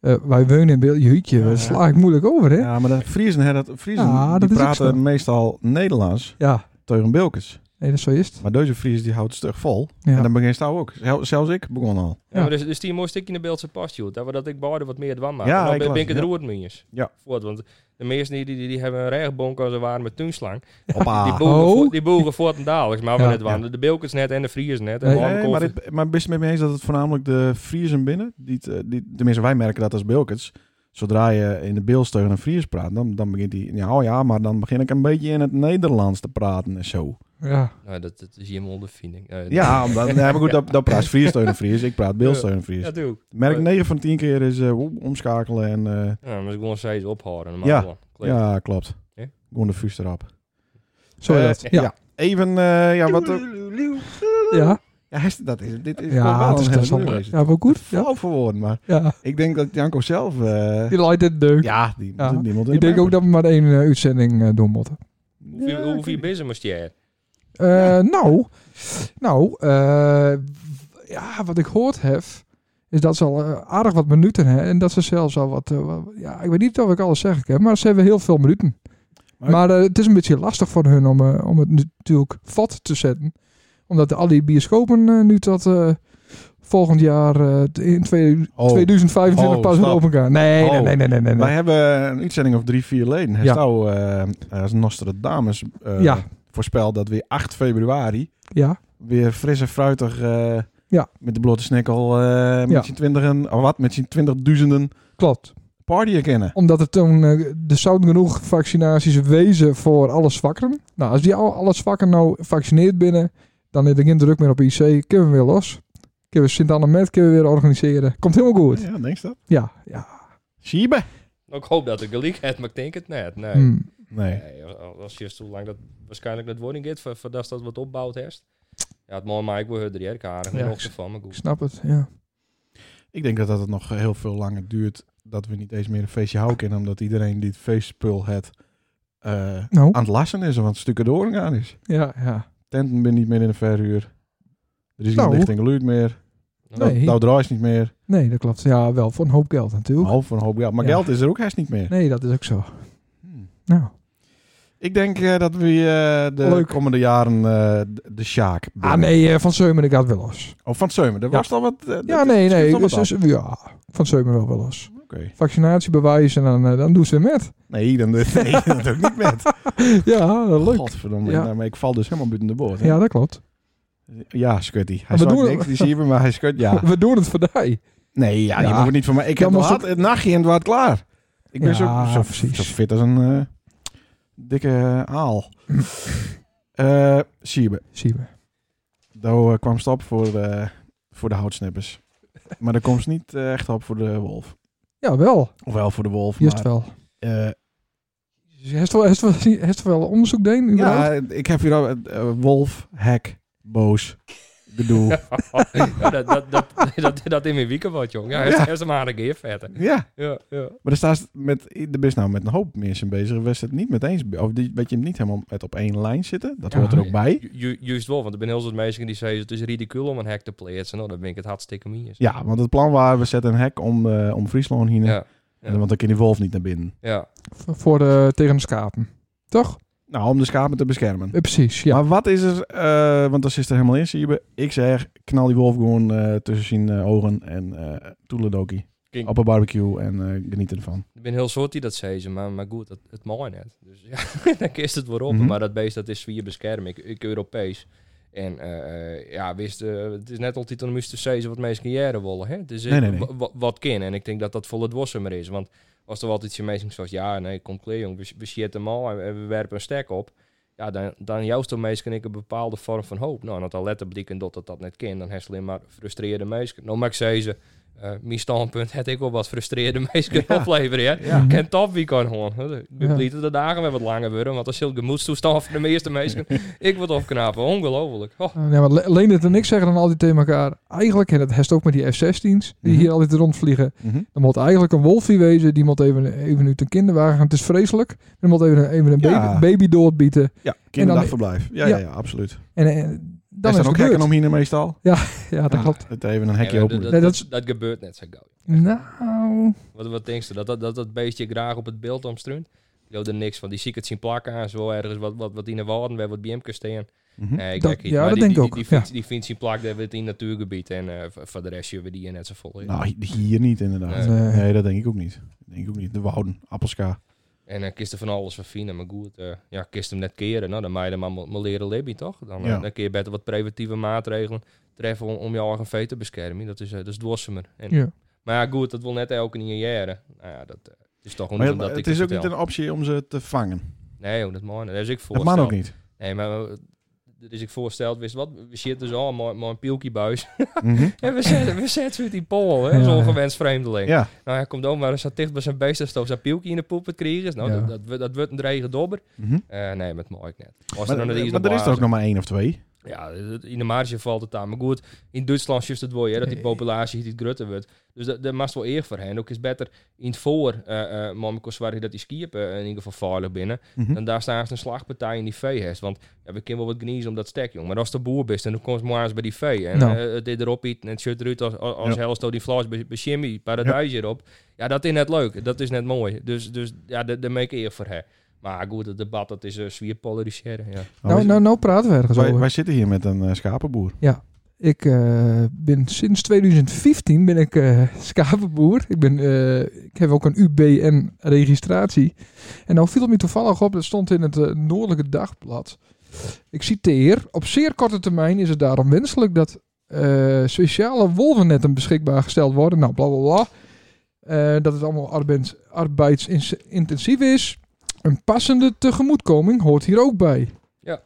S1: eh, wij wonen in beeld, jeetje,
S2: Ja,
S1: dat
S2: ja.
S1: sla ik moeilijk over, hè? Ja,
S2: Ja, maar de Friesen, hè, dat, Friesen
S1: Ja,
S2: die
S1: dat is ook
S2: praten
S1: zo.
S2: meestal Nederlands
S1: ja,
S2: tegen Bilkes.
S1: Nee, dat is zo is het.
S2: Maar deze Fries die houdt stug vol.
S1: Ja.
S2: En dan begint hij ook. Zel- zelfs ik begon al.
S1: Ja.
S3: Ja. maar dus, dus die moest ik in de beeldse past, joh. Dat we dat ik beide wat meer dwan maak.
S2: Ja,
S3: Ja, dan
S2: ik
S3: ben
S2: las
S3: ik het
S2: het, ja.
S3: roerd mee eens.
S2: Ja.
S3: Voort, want de meesten die, die, die hebben een rechtbonk als ze waren met tuinslang. Die
S2: Hoppa.
S3: boeren,
S1: Oh.
S3: voort- die boeren voort en dadelijk. Maar we
S1: Ja.
S3: net waren de Bilkens net en de Friers net. En
S1: Nee.
S3: we hadden
S2: Nee, maar,
S3: koffie.
S2: dit, maar ben je het met me eens dat het voornamelijk de Friesen binnen, die, het, eh, die, tenminste wij merken dat als Bilkens, zodra je in de Beels tegen een Fries praat, dan, dan begint hij, ja, oh ja, maar dan begin ik een beetje in het Nederlands te praten en zo.
S1: Ja.
S3: Nou, dat, dat is je ondervinding. Eh,
S2: Ja, omdat, nee, maar goed, dat, dat praat Fries tegen een Fries, ik praat Beels tegen een Fries.
S3: Ja, doe.
S2: Merk 9 van 10 keer is eh, woe, omschakelen en eh,
S3: Ja, maar ik gewoon steeds ophouden. normaal
S2: Ja.
S3: gewoon. Klopt.
S2: ja, klopt.
S3: Ja.
S2: Gewoon de vuist erop.
S1: Zo is
S2: Eh,
S1: dat. Ja.
S2: Even, eh, ja, wat ook-
S1: Ja.
S2: Ja, hij is- dat is, dit is
S1: Ja, het is
S2: wel een hele
S1: interessant.
S2: moeilijke.
S1: Ja, wel goed. Ja.
S2: Flauw voor woorden, maar
S1: ja.
S2: ik denk dat Janko zelf... eh,
S1: Die leidt dit deuk.
S2: Ja, die,
S1: Ja.
S2: die, die moet
S1: Ik denk ook dat we maar één eh, uitzending eh doen moeten.
S3: Hoeveel, hoeveel bezig moest jij? er?
S1: Eh, Nou, nou eh, w- ja, wat ik gehoord heb, is dat ze al eh, aardig wat minuten hebben. En dat ze zelfs al wat, eh, wat- Ja, ik weet niet of ik alles zeg heb, maar ze hebben heel veel minuten.
S2: Maar-
S1: Maar, eh, het is een beetje lastig voor hun om, eh, om het natuurlijk vat te zetten. Omdat al die bioscopen eh, nu tot eh, volgend jaar eh, in twee-
S2: Oh.
S1: 2025
S2: Oh,
S1: pas weer
S2: snap.
S1: open gaan. Nee,
S2: Oh.
S1: nee, nee, nee, nee. nee, nee.
S2: Wij hebben een uitzending of drie, vier leden. Hij
S1: Ja.
S2: zou eh, als Nostradamus eh
S1: Ja.
S2: voorspeld dat weer 8 februari
S1: Ja,
S2: weer fris en fruitig eh,
S1: Ja.
S2: met de blote snikkel eh, met
S1: Ja.
S2: zijn twintigen, oh, wat, met zijn twintigduizenden
S1: klopt.
S2: partyen kennen.
S1: Omdat er toen eh, er zouden genoeg vaccinaties wezen voor alle zwakkeren. Nou, als die al, alle zwakken nou vaccineerd binnen, dan is er geen druk meer op IC. Kunnen we weer los. Kunnen we sint anne met kunnen we weer organiseren. Komt helemaal goed.
S2: Ja, denk je dat?
S1: Ja, ja.
S2: Siebe?
S3: Nou, Ik hoop dat ik gelijk heb, maar ik denk het net. Nee.
S2: Hmm.
S1: Hm.
S2: Nee.
S3: Nee, als- als je zo lang dat waarschijnlijk dat woning gaat, voor- voordat dat wat opbouwt heeft. Ja, het mooie maar ik wil er erg aardig
S1: Ja,
S3: ja,
S1: ik-
S3: van, maar
S1: Ik
S3: goed.
S1: snap het, ja.
S2: Ik denk dat dat het nog heel veel langer duurt dat we niet eens meer een feestje houden kunnen, omdat iedereen die het feestspul het eh,
S1: Nou,
S2: aan het lassen is of aan het stukken doorgaan is.
S1: ja, ja.
S2: Tenten ben niet meer in de verhuur. Er is
S1: Nou.
S2: geen licht en geluid meer.
S1: Nee.
S2: Nou, nou draai is niet meer.
S1: Nee, dat klopt. Ja, wel voor een hoop geld natuurlijk.
S2: Half van een hoop geld. Maar
S1: Ja.
S2: geld is er ook haast niet meer.
S1: Nee, dat is ook zo.
S2: Hmm.
S1: Nou,
S2: Ik denk eh, dat we eh, de
S1: Leuk.
S2: komende jaren eh, de- de Sjaak.
S1: ah nee, eh, Van Seumen ik had wel los.
S2: Oh, van Seumen. Er
S1: Ja.
S2: was al wat. eh,
S1: Ja,
S2: dat-
S1: nee,
S2: dat
S1: nee.
S2: schuift al
S1: Dus,
S2: wat
S1: dus- ja, Van Seumen wel wel los.
S2: af. Oké.
S1: Vaccinatiebewijs en dan, eh, dan doen ze weer met.
S2: Nee, dan nee, dat ook niet met.
S1: Ja, leuk.
S2: Godverdomme.
S1: Ja.
S2: Nou, maar ik val dus helemaal buiten de boord. hè.
S1: Ja, dat klopt.
S2: ja Scutty. Hij
S1: we
S2: zag
S1: doen-
S2: niks, die zie je, maar hij schudt ja.
S1: We doen het voor die.
S2: Nee, ja, je
S1: Ja.
S2: moet het niet van mij. Ik
S1: Ja,
S2: heb
S1: maar
S2: nog
S1: zo-
S2: had het nachtje en het was klaar. Ik ben
S1: Ja,
S2: zo, zo,
S1: precies.
S2: zo fit als een eh, dikke eh, aal. Eh Siebe.
S1: Zien we.
S2: Daar eh, kwam stap voor, eh, voor de houtsnippers. Maar daar komt ze niet eh, echt op voor de wolf.
S1: Ja, wel.
S2: Of wel voor de wolf,
S1: Juist
S2: maar...
S1: wel.
S2: eh,
S1: Heeft wel, heeft wel, heeft wel onderzoek deen? überhaupt?
S2: ja, ik heb hier al... eh, wolf, hek, boos, gedoe.
S3: ja, dat, dat, dat, dat, dat in mijn weekend wat, jong. Ja,
S2: Ja.
S3: eerst eerst maar een keer vetten.
S2: ja,
S3: Ja, ja.
S2: maar daar staat ze met... De best nou met een hoop mensen bezig. Was het niet meteen... Of die, weet je hem niet helemaal met op één lijn zitten. Dat
S1: Ja.
S2: hoort er ook bij.
S3: Ju- ju- Juist wel, want er ben heel veel mensen die zeggen het is ridicul om een hek te plaatsen. Nou, dan ben ik het hartstikke mee eens.
S2: Ja, want het plan was, we zetten een hek om, eh, om Friesland heen.
S3: Ja,
S2: En- Want dan kan die wolf niet naar binnen.
S3: ja.
S1: V- Voor de, tegen de schapen. Toch?
S2: Nou, om de schapen te beschermen.
S1: Eh, precies, ja.
S2: Maar wat is er, eh, want dat is er helemaal in, zie je. Ik zeg, knal die wolf gewoon eh, tussen zijn eh, ogen en eh toeledoki.
S3: Kink.
S2: Op een barbecue en eh, geniet ervan.
S3: Ik ben heel soort die dat zeggen, maar, maar goed, het, het mooi net. Dus ja, dan kist het weer op.
S2: Mhm.
S3: Maar dat beest, dat is via bescherming. Ik, ik Europees. En eh, eh, ja, wist, eh, het is net altijd een moest te zeggen wat mensen jaren willen. Hè? Dus
S2: Nee, nee, nee.
S3: wat kind. En ik denk dat dat vol het wassemer is. Want als er wel iets in mensen zoals, ja, nee, kom klaar jong, we, we shitten hem al en we, we werpen een stek op. Ja, dan, dan juist om mensen ik een bepaalde vorm van hoop. Nou, en dat al letter betekent dat dat, dat net kind, dan heeft alleen maar frustreerde mensen. Nou, maar ik zei ze, eh, mijn standpunt, had ik wel wat frustreerde mensen
S2: Ja.
S3: opleveren. Hè?
S2: Ja.
S1: Mhm.
S3: Ken top wie kan gewoon. Ik
S1: Ja.
S3: ben blij dat de dagen weer wat langer worden, want dat is heel gemoedstoestand van de meeste mensen. ik word opknapen, ongelooflijk. Oh,
S1: Eh, Ja, maar Le- Leendert en ik zeggen dan altijd tegen elkaar... Eigenlijk, en dat heeft ook met die F-16's... die
S2: Mhm.
S1: hier altijd rondvliegen...
S2: Mhm.
S1: dan moet eigenlijk een wolfie wezen... die moet even, even uit een kinderwagen gaan. Het is vreselijk. Dan moet even, even een
S2: Ja.
S1: baby, baby doodbieten.
S2: Ja, kinderdagverblijf. Ja, ja,
S1: Ja.
S2: ja, absoluut.
S1: En, en dan
S2: Er
S1: is
S2: staan
S1: het
S2: ook
S1: gebeurd.
S2: hekken om hier meestal.
S1: Ja, dat
S2: Ja,
S1: klopt.
S2: Het even een
S3: ja,
S2: hekje
S3: dat-
S2: open.
S3: dat,
S1: Nee, dat
S3: dat,
S1: is-
S3: dat gebeurt net zo gauw.
S1: Nou...
S3: Wat, wat denk je, dat dat, dat dat beestje graag op het beeld omstruint? Ik geloof er niks van, die zie ik het zien plakken aan, zo ergens wat, wat, wat in de waarden, waar wat BM'kes staan.
S2: Mhm.
S3: Nee, ik
S1: Hm? Dat-
S3: denk niet.
S1: ja,
S3: Maar
S1: dat
S3: die,
S1: denk
S3: die,
S1: ik
S3: Die,
S1: ook,
S3: vindt, die vindt zijn plak dat we het in natuurgebied en eh, voor voor de rest hebben we die hier net zo vol. in.
S2: Nou, hi- hier niet inderdaad.
S1: Nee.
S2: Nee. dat denk ik ook niet. Dat Denk ik ook niet. De Wouden, Appelska.
S3: En dan kist er van alles verfinen. Maar goed, eh, ja, kist hem net keren. Nou, dan mij dan maar mo- maar leren libby, toch? Dan, eh,
S2: Ja.
S3: dan kun je beter wat preventieve maatregelen treffen om, om jouw eigen vee te beschermen. Dat is, eh dat is dwossemer. En,
S2: Nou,
S1: Ja.
S3: Maar ja, goed, dat wil net elke in je jaren. Nou ja, dat eh, is toch
S2: Maar
S3: niet
S2: ja,
S3: omdat ik
S2: het is ook niet
S3: vertel.
S2: een optie om ze te vangen.
S3: Nee, joh, dat man. Dat is ik voor.
S2: Dat mag ook niet.
S3: Nee, maar eh, dat is ik voorsteld. Wist wat? We zitten dus al maar maar een pielkiebuis.
S2: Mhm.
S3: en we zetten, we zetten we die pol, hè?
S1: Ja,
S3: Zo'n
S1: ja.
S3: gewenst vreemdeling.
S2: Ja,
S3: Nou, hij komt ook maar eens zo dicht bij zijn beest als hij zijn pielkie in de poep het krijgen. Nou,
S1: Ja.
S3: dat, dat, wordt- dat wordt een dreige dobber.
S2: Mhm.
S3: Eh, nee, met mooi net. Als
S2: maar, eh,
S3: er dan iets
S2: maar er is er ook
S3: blazen.
S2: nog maar één of twee.
S3: Ja, dat- in de marge valt het aan. Maar goed, in Duitsland is het wel, hè, dat
S2: Eh,
S3: die populatie die groter wordt. Dus dat, dat maakt wel eer voor hen. Ook is beter in het voor, eh eh Mamiko Zwarig, dat die skiepen in ieder geval veilig binnen.
S1: Hm?
S2: Mhm.
S3: Dan daar staan ze een slagpartij in die vee heeft. Want ja, we kunnen wel wat gniezen om dat stek, jong. Maar als de boer bent, en dan komt maar eens bij die vee. En
S1: Nou.
S3: eh, het dit erop iets en het shirt eruit als, als, als
S2: Ja.
S3: Helsto die flash bij bij Jimmy, paradijs erop. Ja, dat is net leuk. Dat is net mooi. Dus, dus ja, daar daar maak ik eer voor hen. Maar goed, het debat, dat is eh zwier polariseren, ja.
S1: Nou, nou, nou praten we ergens
S2: wij,
S1: over.
S2: wij zitten hier met een eh, schapenboer.
S1: Ik eh, ben sinds 2015 ben ik eh, schapenboer. Ik, ben, eh, ik heb ook een UBN-registratie. En nou viel het me toevallig op, dat stond in het eh, Noordelijke Dagblad. Ik citeer, op zeer korte termijn is het daarom wenselijk dat eh, speciale wolvennetten beschikbaar gesteld worden. Nou, bla bla bla. Eh, dat het allemaal arbeids, arbeidsintensief is. Een passende tegemoetkoming hoort hier ook bij.
S3: Ja.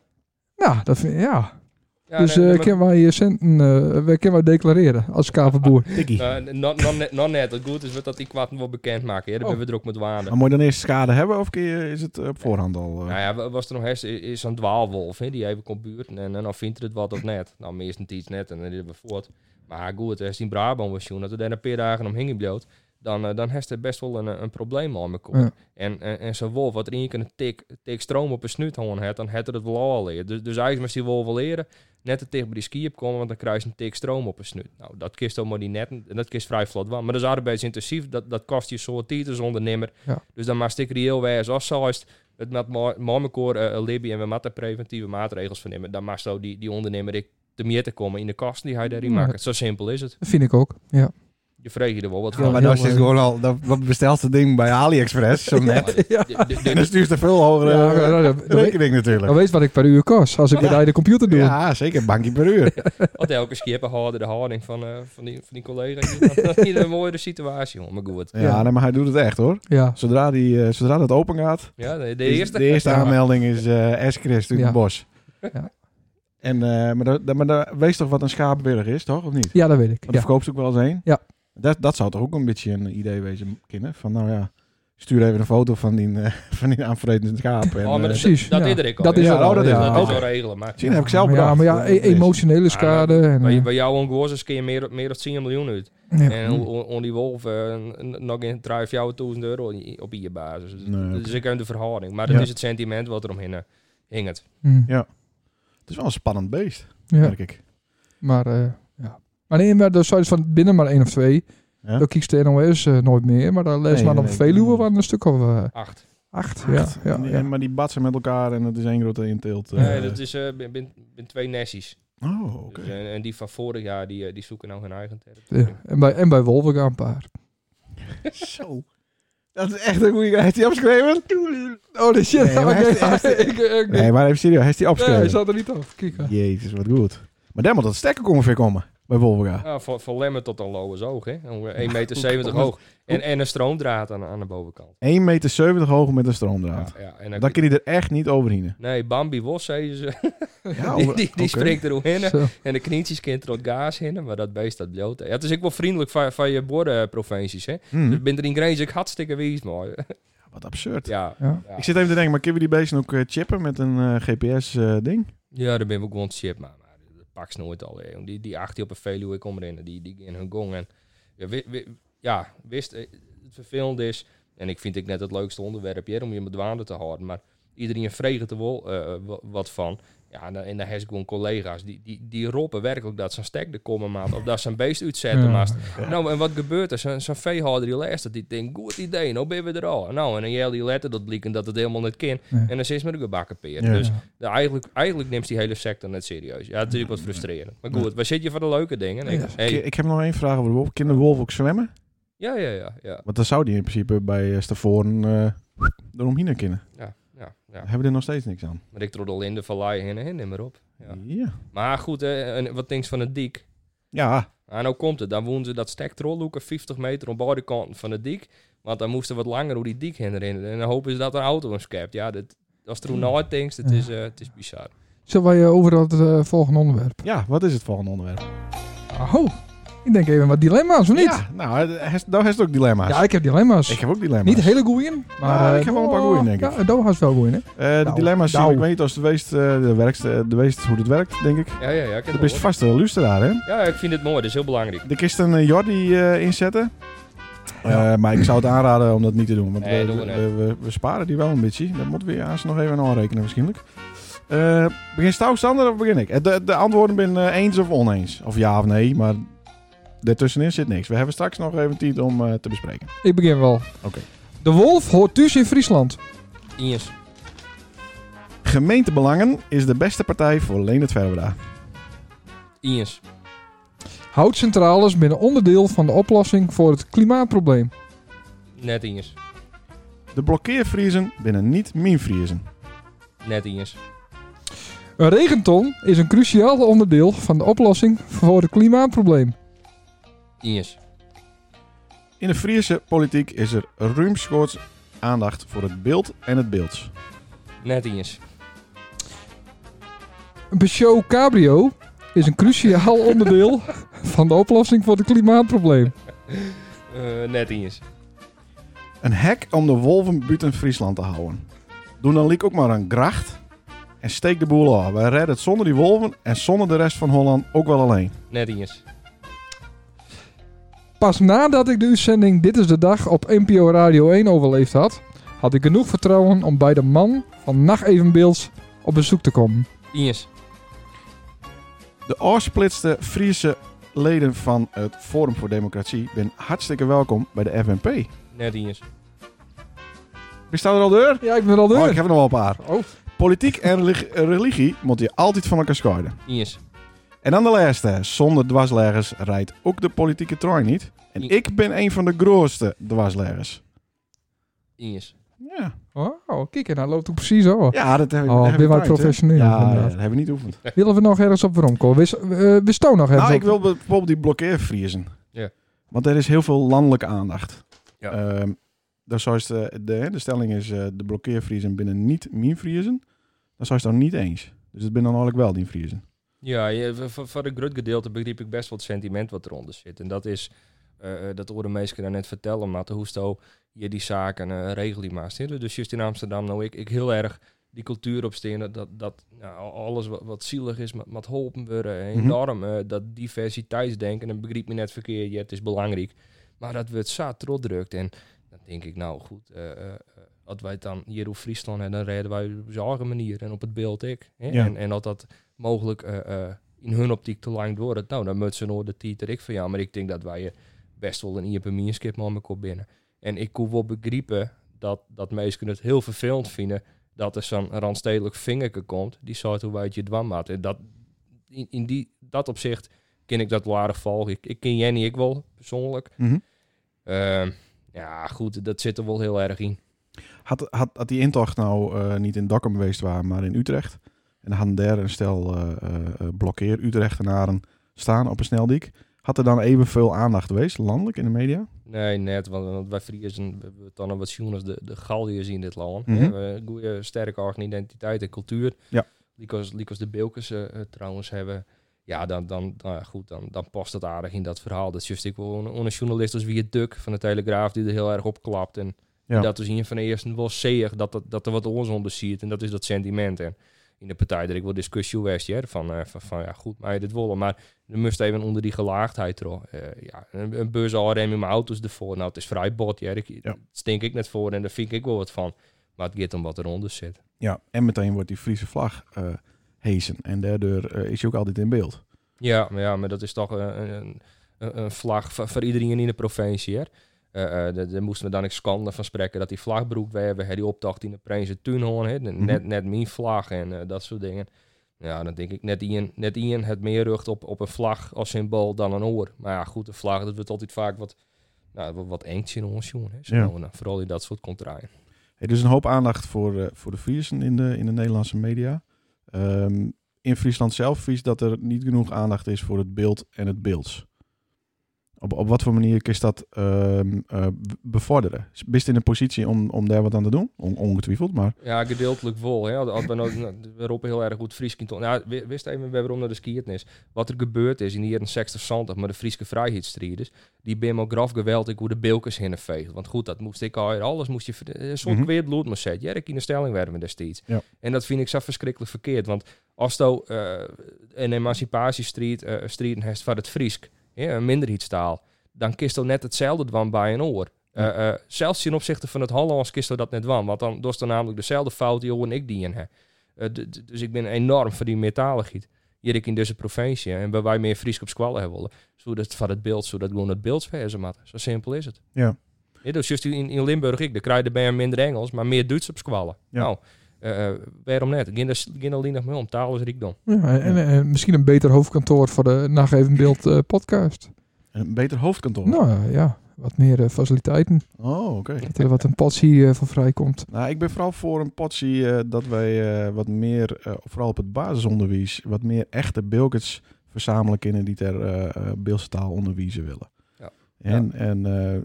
S1: Nou, dat vind ja.
S3: Ja,
S1: dus
S3: nee,
S1: eh
S3: nee, maar-
S1: kunnen wij eh, centen, eh, wij kunnen wij declareren als kaverboer.
S2: Tikkie.
S3: Eh, non- non- net- non net. Het goed is dat die kwaad wel bekend maken. Ja, dan
S1: Oh.
S3: ben we er ook met waarde.
S2: Maar moet je dan eerst schade hebben of kun je- is het op voorhand al? eh?
S3: Nou ja, wa- was er nog eens is zo'n dwaalwolf, hè, die even komt buurten en, en dan vindt er het wat of net. Nou, meestal iets net en dan is het weer voort. Maar goed, als die in Brabant was toen, dat we daar een paar dagen om hingen bloot, dan, eh, dan heeft er best wel een, eh, een probleem aan me
S1: Ja.
S3: En, en, en zo'n wolf, wat er in je een tik, tik stroom op een snuit hoorn heeft, dan heeft er het wel al leren. Dus, dus eigenlijk moest die wolf wel leren, net te dicht bij die ski op komen, want dan krijg je een tik stroom op een snuit. Nou, dat kist allemaal die net, en dat kist vrij vlot van. Maar dat is arbeidsintensief, dat, dat kost je soort titels ondernemer.
S1: Ja.
S3: Dus dan maakt ik reëel wijs als zoals het met ma- Marmekoor eh Libby en we moeten preventieve maatregels van nemen. Dan mag zo die, die ondernemer ik te meer te komen in de kosten die hij daarin
S1: Ja.
S3: maakt. Zo simpel is het.
S1: Dat vind ik ook. Ja.
S3: Je vreeg je er wel wat
S2: Ja,
S3: van.
S2: maar
S1: heel
S2: dan is het
S1: leuk.
S2: gewoon al, dan dan bestelt het ding bij AliExpress, zo net.
S3: Ja, maar de- de-
S2: En
S3: de-
S2: dan stuurt er veel hogere
S1: Ja,
S2: eh,
S1: nou, nou, nou, nou, weet-
S2: rekening
S1: nou
S2: natuurlijk.
S1: weet wat ik per uur kost als ik
S2: Ja.
S1: bij de computer doe.
S2: Ja, zeker, bankje per uur.
S3: Had elke schipper harder de houding van, eh, van, die, van die collega. Dat is niet een mooiere situatie, hoor. Maar goed.
S2: Ja, nee, maar hij doet het echt hoor.
S1: Ja.
S2: Zodra, die, eh, zodra dat open gaat,
S3: Ja, de, de
S2: is- Dus de
S3: eerste.
S2: eerste
S1: Ja.
S2: aanmelding is eh S-Christ in
S1: Ja.
S2: het bos.
S1: Ja.
S2: En, eh, maar, dat, dat- maar dat- wees toch wat een schapenburg is, toch? Of niet?
S1: ja, dat weet ik.
S2: Want
S1: Ja.
S2: daar verkoopt ze ook wel eens heen.
S1: Ja.
S2: Dat, dat zou toch ook een beetje een idee wezen, kinderen? Van nou ja, stuur even een foto van die, eh, van die aanvretende schaap. En,
S3: Oh, maar
S2: eh,
S3: dat,
S1: precies,
S3: dat
S1: ja.
S3: is er ik al.
S1: Dat
S3: hè.
S1: is
S2: er Ja, al, oh, dat
S3: dat
S2: is
S1: er al.
S3: is
S2: Oké.
S3: wel regelen. Maar
S2: Zie je, dat heb ik zelf
S1: ja,
S2: bedacht.
S1: maar ja,
S2: Dat is-
S1: e-
S2: Ah,
S1: emotionele schade. En,
S3: bij,
S1: eh,
S3: bij jou en Gozes kun je meer, meer dan 10 miljoen uit.
S1: ja.
S3: En on, on die wolf eh, n- n- nog in drijf jou 1000 euro i- op je basis. Dus,
S2: Nee,
S3: dat
S2: Mm, oké.
S3: is ik aan de verhouding. Maar dat
S2: Ja.
S3: is het sentiment wat eromheen eh, hing het.
S1: Mm,
S2: Het is wel een spannend beest,
S1: ja.
S2: merk ik.
S1: Maar, eh, ja. maar nee, maar dat zoiets van binnen maar één of twee.
S2: Ja.
S1: Dan kiest de NOS eh, nooit meer. Maar dan lees
S2: Nee,
S1: maar op
S2: nee,
S1: Veluwe
S2: nee.
S1: waar een stuk of eh,
S3: Acht.
S1: acht. Ja, ja,
S2: En-
S1: ja.
S2: en- Maar die batsen met elkaar en dat is één grote inteelt. eh.
S3: Nee, dat is eh, bin- bin bin twee Nessies.
S2: Oh, oké.
S3: Dus, eh, en die van vorig jaar, die, eh, die zoeken nou hun eigen territorium.
S1: Ja. En, bij, en bij Wolven gaan een paar.
S2: Zo. Dat is echt een goede... Heeft hij opgeschreven?
S1: Oh, shit.
S2: Nee, maar hij is- hij is-
S1: ik, ik,
S2: Nee, maar even serieus. Heeft hij
S1: nee, hij
S2: opgeschreven?
S1: zat er niet af. Kijk. hè.
S2: Jezus, wat goed. Maar daar moet dat stekker komen weer komen. Bij Wolverga.
S3: Nou, van, van Lemmer tot aan Loewes hoog, hè? 1,70 meter 70 hoog. En, en een stroomdraad aan, aan de bovenkant.
S2: 1,70 meter hoog met een stroomdraad.
S3: Ja, ja. En
S2: Dan
S3: dan,
S2: kan hij er echt niet overheen.
S3: nee, Bambi Wos, zei ze.
S2: Ja,
S3: die die, die
S2: oké.
S3: springt er hoe heen.
S1: Zo.
S3: En de knietjes kind er wat gaas in, maar dat beest dat bloot. Ja, het is ook wel vriendelijk van, van je bordenprovincies, hè? Dus
S2: Hmm,
S3: ben er in Grijs ook hartstikke wies, mooi.
S2: Wat absurd.
S3: ja.
S1: Ja.
S3: Ja.
S2: Ik zit even te denken, maar kunnen we die beesten ook eh, chippen met een GPS-ding?
S3: ja, daar ben ik ook gewoon shit, maar, maar dat pak ze nooit al. hè, jong. Die, die acht die op een Veluwe komt erin, die, die in hun gong. En, ja, wi- wi- ja, wist, eh, het vervelend is, en ik vind ik net het leukste onderwerp hier om je met waande te houden, maar Iedereen vreegt er wel eh, wa- wat van. Ja, en dan- en dan heb je gewoon collega's die, die, die roepen werkelijk dat zijn stek er komen maat. Of dat zijn beest uitzetten
S1: Ja.
S3: maat. Nou, en wat gebeurt er? Zo'n zo'n veehouder die luistert, die denkt, goed idee, nou ben we er al. Nou, en dan jij die letter, dat blikken dat het helemaal niet kan.
S1: Ja.
S3: En dan zit ze met een gebakken peer.
S2: Ja.
S3: Dus de, eigenlijk, eigenlijk neemt die hele sector net serieus. Ja, natuurlijk wat frustrerend. Maar goed, waar zit je voor de leuke dingen?
S1: Ja.
S3: Ja,
S2: Ik, ik heb nog één vraag over de wolf. Kan de wolf ook zwemmen?
S3: ja, ja, ja, ja.
S2: Want dan zou die in principe bij eh, Stavoren eh eromheen kunnen.
S3: ja, ja, ja.
S2: Daar hebben we er nog steeds niks aan.
S3: Maar ik troddel in de vallei heen en heen, neem maar op. Ja.
S2: Ja.
S3: Maar goed, hè, en wat denk je van het dik?
S2: Ja.
S3: Ah, nou komt het. Dan woonden ze dat stek trolloeken 50 meter om beide kanten van de dik. Want dan moesten wat langer hoe die dik heen rennen. En dan hopen ze dat een auto hem schept. Ja, dat, als er nooit denkt, het,
S1: Ja.
S3: is, eh, het is bizar.
S1: Zullen wij eh, over dat eh, volgende onderwerp?
S2: Ja, wat is het volgende onderwerp?
S1: Oh, ik denk even wat dilemma's, of niet? Ja,
S2: Ja, nou, eh, has- nou heeft het ook dilemma's.
S1: ik heb dilemma's.
S2: ik heb ook dilemma's.
S1: Niet hele goeie, maar...
S2: Nou,
S1: eh,
S2: ik heb wel een paar
S1: oh,
S2: goeie, denk ik.
S1: Ja, Doha is wel goeie, hè?
S2: Eh, de
S1: Nou,
S2: dilemma's zie
S1: nou.
S2: ik weet als de weest, eh, de werkste, de weest hoe het werkt, denk ik.
S3: Ja, ja, ja. Ik heb
S2: De
S3: het
S2: best
S3: gehoord.
S2: vaste luisteraar, hè?
S3: ja, ik vind het mooi. Dat is heel belangrijk.
S2: De kist een eh, Jordi eh, inzetten. Eh, maar ik zou het aanraden om dat niet te doen. Want
S3: Nee,
S2: we,
S3: doen we
S2: we, we- we sparen die wel een beetje. Dat moeten we eerst nog even aanrekenen waarschijnlijk. Eh begin Stouw Sander of begin ik? Eh, De, de antwoorden ben eh, eens of oneens. Of ja of nee, maar daartussenin zit niks. We hebben straks nog even tijd om eh, te bespreken.
S1: Ik begin wel.
S2: Oké.
S1: De wolf hoort thuis in Friesland.
S3: Iens.
S2: Gemeentebelangen is de beste partij voor Leendert Verberda.
S3: Iens.
S1: Houtcentrales binnen onderdeel van de oplossing voor het klimaatprobleem.
S3: Net Iens.
S2: De blokkeervriezen binnen niet minvriezen.
S3: Net Iens.
S1: Een regenton is een cruciaal onderdeel van de oplossing voor het klimaatprobleem.
S3: Iens.
S2: In de Friese politiek is er ruimschoots aandacht voor het beeld en het beelds.
S3: Net Iens.
S1: Een Peugeot Cabrio is een cruciaal onderdeel van de oplossing voor het klimaatprobleem.
S3: Eh, net Iens.
S2: Een hek om de wolven buiten Friesland te houden. Doe dan liek ook maar een gracht en steek de boel af. Wij redden het zonder die wolven en zonder de rest van Holland ook wel alleen.
S3: Net Iens.
S1: Pas nadat ik de uitzending Dit is de Dag op NPO Radio 1 overleefd had, had ik genoeg vertrouwen om bij de man van Nacht Evenbeelds op bezoek te komen.
S3: Iens.
S2: De afsplitste Friese leden van het Forum voor Democratie ben hartstikke welkom bij de FNP.
S3: Net Iens.
S2: Bestaat er al deur?
S1: Ja, ik ben al
S2: Oh, ik
S1: deur.
S2: heb er nog wel een paar.
S1: Oh.
S2: Politiek en relig- religie moet je altijd van elkaar scheiden.
S3: Iens.
S2: En dan de laatste. Zonder dwarsleggers rijdt ook de politieke trein niet. En
S3: I-
S2: ik ben een van de grootste dwarsleggers.
S3: Iens.
S2: Ja,
S1: Oh, kijk, en hij loopt ook precies over.
S2: ja dat heb ik
S1: Oh,
S2: dat heb
S1: ben
S2: ik
S1: wij
S2: traind, hè?
S1: professioneel,
S2: Ja, Ja,
S1: inderdaad.
S2: dat hebben we niet oefend.
S1: Willen we nog ergens op rondkomen? We, eh, we stoon nog ergens
S2: Nou, ik
S1: op.
S2: wil bijvoorbeeld die blokkeervriezen.
S3: Ja.
S2: Want er is heel veel landelijke aandacht.
S3: Ja.
S2: Ehm, dan zou je het, eh, de, hè, de stelling is eh, de blokkeervriezen binnen niet min vriezen. Dan zou je het dan niet eens. Dus het ben dan eigenlijk wel die vriezen.
S3: Ja, je- v- v- voor een groot gedeelte begreep ik best wel het sentiment wat eronder zit. En dat is, eh, eh, dat hoorde mensen daar net vertellen, maar hoe zo je die zaken eh regel die maar zitten. Dus juist in Amsterdam, nou ik, ik heel erg die cultuur opstenen, dat, dat nou, al- alles wat, wat zielig is, met, met holpen worden, eh,
S2: Mhm.
S3: enorm. eh, dat diversiteitsdenken, en begreep me net verkeerd, ja, het is belangrijk. Maar dat we het zaad trots drukt. En dan denk ik, nou goed, eh, eh, eh, als wij het dan hier op Friesland en dan reden wij op zo'n eigen manier en op het beeld ik. Hè?
S2: Ja.
S3: En, en dat dat mogelijk eh, eh, in hun optiek te lang doorgaat. Nou, dan moet ze nog de titer ik van ja, maar ik denk dat wij je best wel een IEP Mierskip maar op binnen. En ik kon wel begrijpen dat, dat mensen het heel vervelend vinden dat er zo'n randstedelijk vingerke komt die soort hoe wij het je dwam maakt. En dat, in, in die, dat opzicht ken ik dat wel aardig volgen. Ik, ik ken Jenny, ik wel persoonlijk.
S2: Mhm.
S3: Ehm, ja, goed, dat zit er wel heel erg in.
S2: Had, had, had die intocht nou eh, niet in Dokkum geweest waren, maar in Utrecht. En dan hadden daar een stel eh, eh, eh, blokkeer Utrechtenaren staan op een sneldiek. Had er dan evenveel aandacht geweest, landelijk in de media?
S3: Nee, net, want, want wij Friesen, we hebben dan wat zien als de, de Galliërs in dit land.
S2: Mhm.
S3: We hebben een goede, sterke eigen identiteit en cultuur.
S2: Ja.
S3: Likos, Likos de Bilkes eh, eh, trouwens hebben. Ja, dan, dan, nou ja, goed, dan, dan past dat aardig in dat verhaal. Dat is juist ik wel een, een journalist als wie het Duk van de Telegraaf die er heel erg op klapt. En
S2: Ja.
S3: dat is in van de eerste wel zeer dat, dat, dat er wat ons onder ziet. En dat is dat sentiment. En in de partij dat ik wel discussie was, ja, van, eh, van, van ja, goed, maar je dit wollen. Maar dan moest even onder die gelaagdheid erop. Eh, ja, een, een beurs al remmen mijn auto's ervoor. Nou, het is vrij bot. Ja. Ik,
S2: Ja.
S3: Stink ik net voor en daar vind ik wel wat van. Maar het gaat om wat eronder zit.
S2: Ja, en meteen wordt die Friese vlag eh hezen. En daardoor eh, is hij ook altijd in beeld.
S3: Ja, maar, ja, maar dat is toch een, een, een- een vlag voor, voor iedereen in de provincie. Hè? Eh, eh, daar- daar moesten we dan ook schande van spreken dat die vlagbroek we hebben, hè, die optocht in de Prijnse Tuinhoorn, hè, net,
S2: Mhm.
S3: net, net mijn vlag en eh, dat soort dingen. Ja, dan denk ik net Ian, net Ian het meer rucht op, op een vlag als symbool dan een oor. Maar ja, goed, de vlag, dat wordt altijd vaak wat, nou, wat, wat engs in ons jongen. Hè, zo
S2: Ja.
S3: nou en dan, vooral in dat soort contraien.
S2: Er is dus een hoop aandacht voor, eh, voor de Friesen in de, in de Nederlandse media. Ehm, in Friesland zelf vies dat er niet genoeg aandacht is voor het beeld en het beelds. Op, op wat voor manier kun je dat ehm, eh, b- bevorderen? Bist in de positie om, om daar wat aan te doen? On- ongetwijfeld, maar
S3: Ja, gedeeltelijk wel. Hè. Als- Als we, nou, nou, we roepen heel erg goed Fries kind om. Nou, wi- wist even waarom naar de skiertnis. Wat er gebeurd is in de jaren 60, 70 met de Friese vrijheidsstrijders. Die ben me graf geweld ik hoe de bilkes hinnenveegd. Want goed, dat moest ik al. Alles moest je... ver- eh, Een soort
S2: Mhm.
S3: weer bloed moest zetten. Ja, ik in de stelling werden we destijds.
S2: Ja.
S3: En dat vind ik zo verschrikkelijk verkeerd. Want als je een emancipatiestrijd eh strijd hebt van het Friesk. Ja, een minderheidstaal. Dan kist al net hetzelfde dwan bij een oor. Eh, eh, zelfs ten opzichte van het Hollands kist er dat net wan. Want dan doet er namelijk dezelfde fout die Johan en ik die in heb. Eh, d- d- dus ik ben enorm voor die meertaligheid. Hier ik in deze provincie. En waar wij meer Fries op squallen hebben willen. Zodat het van het beeld, zodat gewoon het beeld verzen mat. Zo simpel is het.
S2: Ja.
S3: Ja, dus juist in, in Limburg, ik, dan krijg je er bij minder Engels, maar meer Duits op squallen.
S2: Ja.
S3: Nou, eh, eh, waarom net? Geen alleen nog meer om. Taal is rijkdom.
S1: Ja, en, en misschien een beter hoofdkantoor voor de Nacht Even Beeld eh, podcast.
S2: een beter hoofdkantoor.
S1: Nou ja, wat meer eh, faciliteiten.
S2: Oh, oké.
S1: Dat er wat een pas hier eh, van vrijkomt.
S2: Nou, ik ben vooral voor een potje eh, dat wij eh, wat meer, eh, vooral op het basisonderwijs, wat meer echte bilkets verzamelen kinderen die ter eh eh, Beelse taal onderwijzen willen.
S3: Ja.
S2: En, en eh,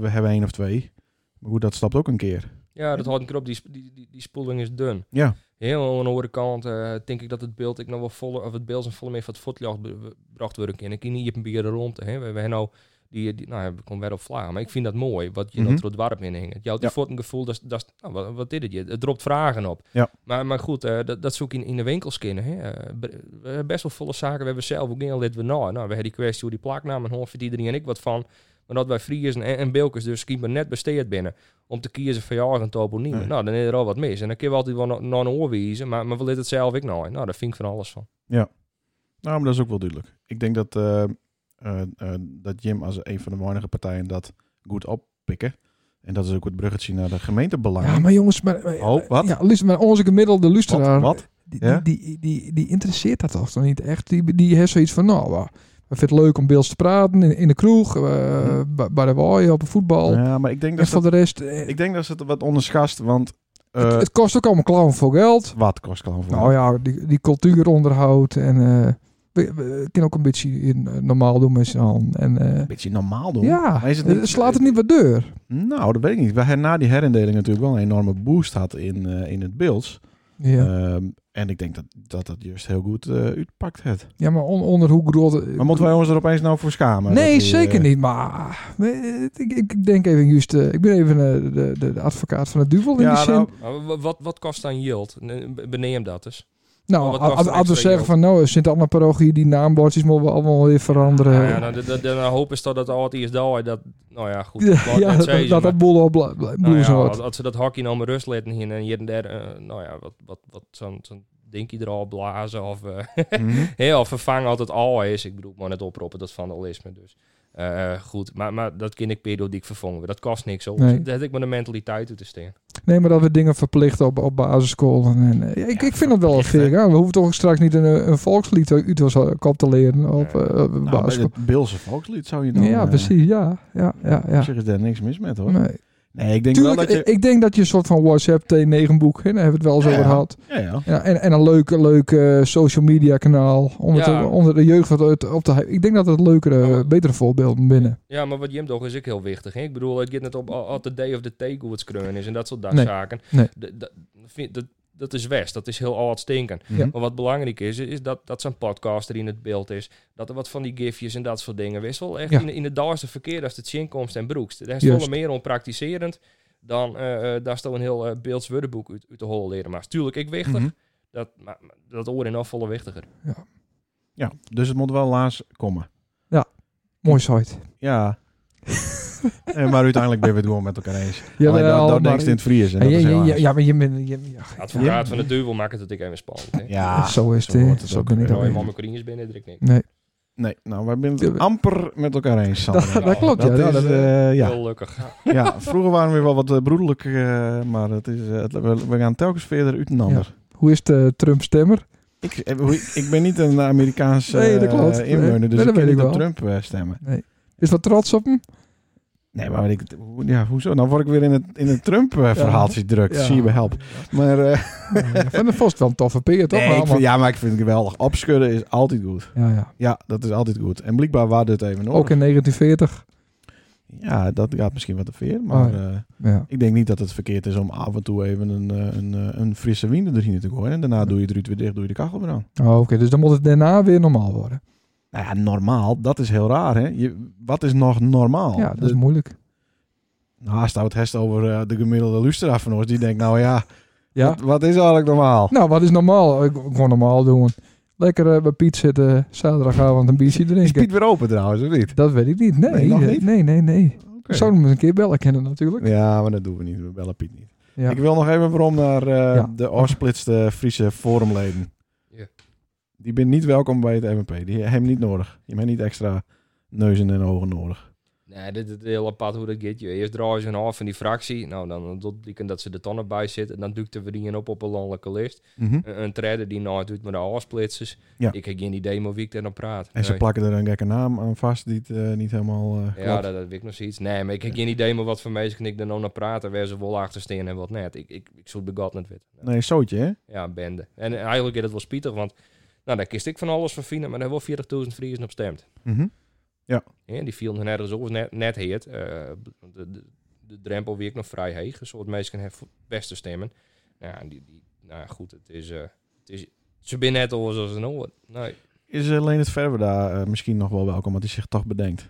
S2: we hebben één of twee. Maar goed, dat stapt ook een keer.
S3: Ja, dat had ik erop. Die, sp- die, die, die spoeling is dun.
S2: Ja,
S3: Heel aan de andere kant eh, denk ik dat het beeld ik nog wel volle, of het beeld en volle meer van het voetlicht be- be- bracht worden in. Ik ken niet op een bier rond. Hè. We we hebben nou die, die nou ja, we komen weer op vlaag, maar ik vind dat mooi wat je
S2: Mhm.
S3: dat door het warm in hangt. Je houdt
S2: Ja.
S3: die voet een gevoel dat is- dat is- nou, wat, wat is het je? Het dropt vragen op.
S2: Ja.
S3: Maar, maar goed, eh, dat, dat zoek ik in, in de winkels kennen. Hè. Eh, bre- we hebben best wel volle zaken. We hebben zelf ook heel dit we nou. Nou, we hebben die kwestie hoe die plaknaam en hoor iedereen en ik wat van. Maar dat wij Friers en, en Bilkers dus schijnbaar net besteed binnen om te kiezen voor jou een toponiemen.
S2: Nee.
S3: Nou, dan is er al wat mis. En dan kun je altijd wel no- naar een oor wijzen, maar, maar wil dit het zelf ik nou? Nou, daar vind ik van alles van.
S2: nou, maar dat is ook wel duidelijk. Ik denk dat, eh, eh, eh, dat Jim als een van de weinige partijen dat goed oppikken. En dat is ook het bruggetje naar de gemeentebelangen.
S1: Ja, maar jongens, maar, maar-
S2: Oh, wat?
S1: Ja, luister, maar onze gemiddelde luisteraar,
S2: wat? wat?
S1: Die,
S2: Ja?
S1: die, die, die, die interesseert dat toch dan niet echt? Die, die heeft zoiets van, nou, we vinden het leuk om beelds te praten in, in de kroeg, eh, bij- bij de waai, op een voetbal.
S2: Ja, maar ik denk
S1: En
S2: dat,
S1: voor
S2: Dus dat,
S1: de rest, eh,
S2: ik denk dat ze het wat onderschast, want... eh,
S1: het, het kost ook allemaal klauwen voor geld.
S2: wat kost Clown voor?
S1: Nou ja, die, die cultuuronderhoud en... eh we, we kunnen ook een beetje in, eh, normaal doen met z'n allen. En, eh,
S2: Een beetje normaal doen.
S1: ja,
S2: Maar is het
S1: eh,
S2: niet-
S1: slaat het niet wat deur.
S2: Nou, dat weet ik niet. We hebben na die herindeling natuurlijk wel een enorme boost had in, eh, in het beeld.
S1: Ja,
S2: Ehm, en ik denk dat dat, dat juist heel goed eh, uitpakt het.
S1: ja maar on- onder hoe groot...
S2: Maar moeten wij ons er opeens nou voor schamen?
S1: nee,
S2: Dat die,
S1: zeker
S2: eh,
S1: niet. Maar eh, ik, ik- ik denk even juist... eh, ik ben even eh, de, de, de advocaat van het duivel in die
S2: Ja,
S1: zin.
S2: nou,
S1: Nou,
S3: Maar wa- wat, wat kost dan yield? N- be- Beneem dat dus? eens. wat
S1: als-
S3: kost
S1: als
S3: een
S1: als we
S3: extra
S1: zeggen van... Nou, Sint-Anna-parochie, die naambordjes moeten we allemaal weer veranderen.
S3: Nou
S1: ja,
S3: ja, nou, de, de, de hoop is dat dat altijd is daar. Dat, nou ja, goed. ik wou
S1: dat,
S3: het net
S1: dat,
S3: zeggen,
S1: dat,
S3: maar-
S1: boel op bla- bla-
S3: nou
S1: boel
S3: ja,
S1: zo
S3: als,
S1: wat.
S3: als ze dat hakje nou maar rust laten hier en hier en daar, eh, nou ja, wat, wat, wat zo'n zo'n dinkie er al blazen of... eh,
S2: mhm.
S3: heel vervangen altijd al is. Ik bedoel, maar net oproepen dat vandalisme. Dus Eh, goed, maar, maar dat kan ik periodiek vervangen. worden. Dat kost niks. Op.
S1: Nee.
S3: Dat heb ik maar de mentaliteit toe te steken.
S1: Nee, maar dat we dingen verplichten op, op basisscholen. En, eh, ik, ik vind dat wel een veer. Ja. We hoeven toch straks niet een, eh, een volkslied uit ons kop te leren op
S3: Nee.
S1: eh, basisschool.
S2: Nou, bij het Beelse volkslied zou je dan...
S1: ja,
S2: eh,
S1: precies. Ja, ja, ja.
S2: Op
S1: ja.
S2: zich is daar niks mis met, hoor. Nee,
S1: Nee.
S2: ik denk
S1: Tuurlijk,
S2: wel dat je...
S1: ik, ik denk dat je een soort van WhatsApp T9 boek, hè, daar hebben we het wel zo
S2: Ja,
S1: over
S2: ja.
S1: gehad.
S2: Ja, ja.
S1: Ja, en, en een leuk, leuk eh, social media kanaal om, het,
S3: Ja.
S1: om de jeugd wat uit- op te hypen. Ik denk dat het leukere, eh,
S3: Oh.
S1: betere voorbeelden binnen.
S3: Ja, maar wat Jim toch is ook heel wichtig. Hè? Ik bedoel, het gaat net op al de day of the take hoe het skreun is en dat soort dat
S1: Nee.
S3: zaken.
S1: Nee.
S3: D- Dat, vind- dat, dat is west, dat is heel oud stinken.
S1: Ja.
S2: Mhm.
S3: Maar wat belangrijk is, is dat, dat zijn podcaster in het beeld is. Dat er wat van die gifjes en dat soort dingen. Wees wel echt
S1: Ja.
S3: in, in het daalste verkeer als de chinkomst en broekst. Daar is
S1: Juist.
S3: veel meer onpraktiserend dan eh eh, daar is toch een heel eh beelds woordenboek uit, uit de hol leren. Maar tuurlijk, ik wichtig.
S2: Mhm.
S3: Dat, maar, maar dat oor en volle wichtiger.
S2: ja, dus het moet wel laatst komen.
S1: Mooi site.
S2: Ja. Eh, maar uiteindelijk ben je het gewoon met elkaar eens.
S1: Ja,
S2: Alleen
S1: wel,
S2: dat, dat
S1: maar-
S2: denkst in het Fries.
S1: Ja,
S2: En dat is
S1: ja,
S2: heel
S1: ja,
S2: anders.
S1: ja, maar je bent... je- ja,
S3: Advocaat
S1: je-
S3: van de duivel maakt het natuurlijk even spannend. Hè?
S2: Ja,
S1: Zo is het,
S2: Ah, zo
S1: hè.
S2: hoort het
S1: Zo
S2: ook
S1: ben ik
S2: weer.
S1: ook
S3: Terwijl je
S1: weer.
S3: man met Corines bent, dat ik niet.
S1: Nee,
S2: Nee, nou, wij zijn het amper met elkaar eens, Sander.
S1: dat, dat klopt, ja.
S2: Dat
S1: ja,
S2: is,
S1: dat, eh,
S2: eh, ja.
S3: Gelukkig.
S2: ja, vroeger waren we wel wat eh, broederlijk, eh, maar het is, eh, het- we, we gaan telkens verder uit een ander.
S1: hoe is eh, de Trump-stemmer?
S2: Ik, eh, hoe- ik ben niet een Amerikaans eh,
S1: Nee, dat klopt.
S2: eh, inwoner,
S1: Nee,
S2: dus
S1: dat
S2: ik kan
S1: weet
S2: niet
S1: ik
S2: op
S1: wel.
S2: Trump eh, stemmen.
S1: Is wat trots op hem?
S2: Nee, maar ik, hoe- ja, hoezo? Dan word ik weer in het, in het Trump-verhaaltje gedrukt.
S1: Ja.
S2: Zie je me help. Maar, eh,
S1: Ja, van de Vos wel een toffe peer, toch?
S2: nee,
S1: Maar
S2: ik vind,
S1: allemaal-
S2: ja, maar ik vind het geweldig. Opschudden is altijd goed.
S1: ja, ja.
S2: Ja, dat is altijd goed. En blijkbaar waar dit even nodig.
S1: Ook in 1940.
S2: Ja, dat gaat misschien wat te ver, maar...
S1: Oh, ja.
S2: eh,
S1: Ja.
S2: Ik denk niet dat het verkeerd is om af en toe even een, eh, een, eh, een frisse wind erin te gooien. En daarna doe je het eruit weer dicht, doe je de kachel weer aan.
S1: Oh, Oké, dus dan moet het daarna weer normaal worden.
S2: Nou ja, normaal, dat is heel raar, hè? Je, wat is nog normaal?
S1: ja, dat is moeilijk.
S2: Haast houdt hest over eh, de gemiddelde luisteraar van ons. Die denkt, nou ja,
S1: Ja.
S2: wat, wat is eigenlijk normaal?
S1: Nou, wat is normaal? Ik gewoon normaal doen. Lekker eh, bij Piet zitten, zaterdagavond een biertje
S2: Is
S1: drinken.
S2: Piet weer open trouwens, of niet?
S1: Dat weet ik niet. Nee,
S2: Nee, nog
S1: eh,
S2: niet?
S1: nee, nee. nee.
S2: Oké.
S1: Zou hem eens een keer bellen kennen natuurlijk.
S2: Ja, maar dat doen we niet. We bellen Piet niet.
S1: Ja.
S2: Ik wil nog even waarom naar eh,
S1: Ja.
S2: de afsplitste Friese forumleden.
S3: Ja.
S2: Die ben niet welkom bij het MNP. Die hebben niet nodig. Je hebt niet extra neuzen en ogen nodig.
S3: Nee, dit is heel apart hoe dat gaat. Je Eerst draaien ze een half van die fractie. Nou, dan dat blijkt dat ze de tonnen bij zitten. En dan duikt de verdiening op op een landelijke lijst.
S2: Mhm.
S3: Een, een trader die nou doet met de afsplitsers.
S2: Ja.
S3: Ik heb geen idee maar wie ik daar dan praat.
S2: En ze
S3: Nee.
S2: plakken er een gekke naam aan vast die het eh, niet helemaal eh,
S3: Ja,
S2: klopt.
S3: dat, dat weet ik nog zoiets. Nee, maar ik heb geen idee meer wat voor mensen ik daar nou naar praten. Waar ze wel achter staan en wat net. Ik, ik, ik zoek de god net weten.
S2: Nee, zootje, hè?
S3: Ja, een bende. En eigenlijk is dat wel spietig, want nou, daar kist ik van alles van Fina, maar daar hebben wel 40.000 Friesen op stemt. Ja, die viel er ergens over, net, net heet. eh, de, de, de drempel wie ik nog vrij heeg. Een soort mensen hebben voor het beste stemmen. Nou, ja, die, die, nou ja, goed, het is, eh, het is... Ze binnen net al zoals ze nou wordt. Nee.
S2: Is eh, Leendert Verwe daar eh, misschien nog wel welkom, want die zich toch bedenkt.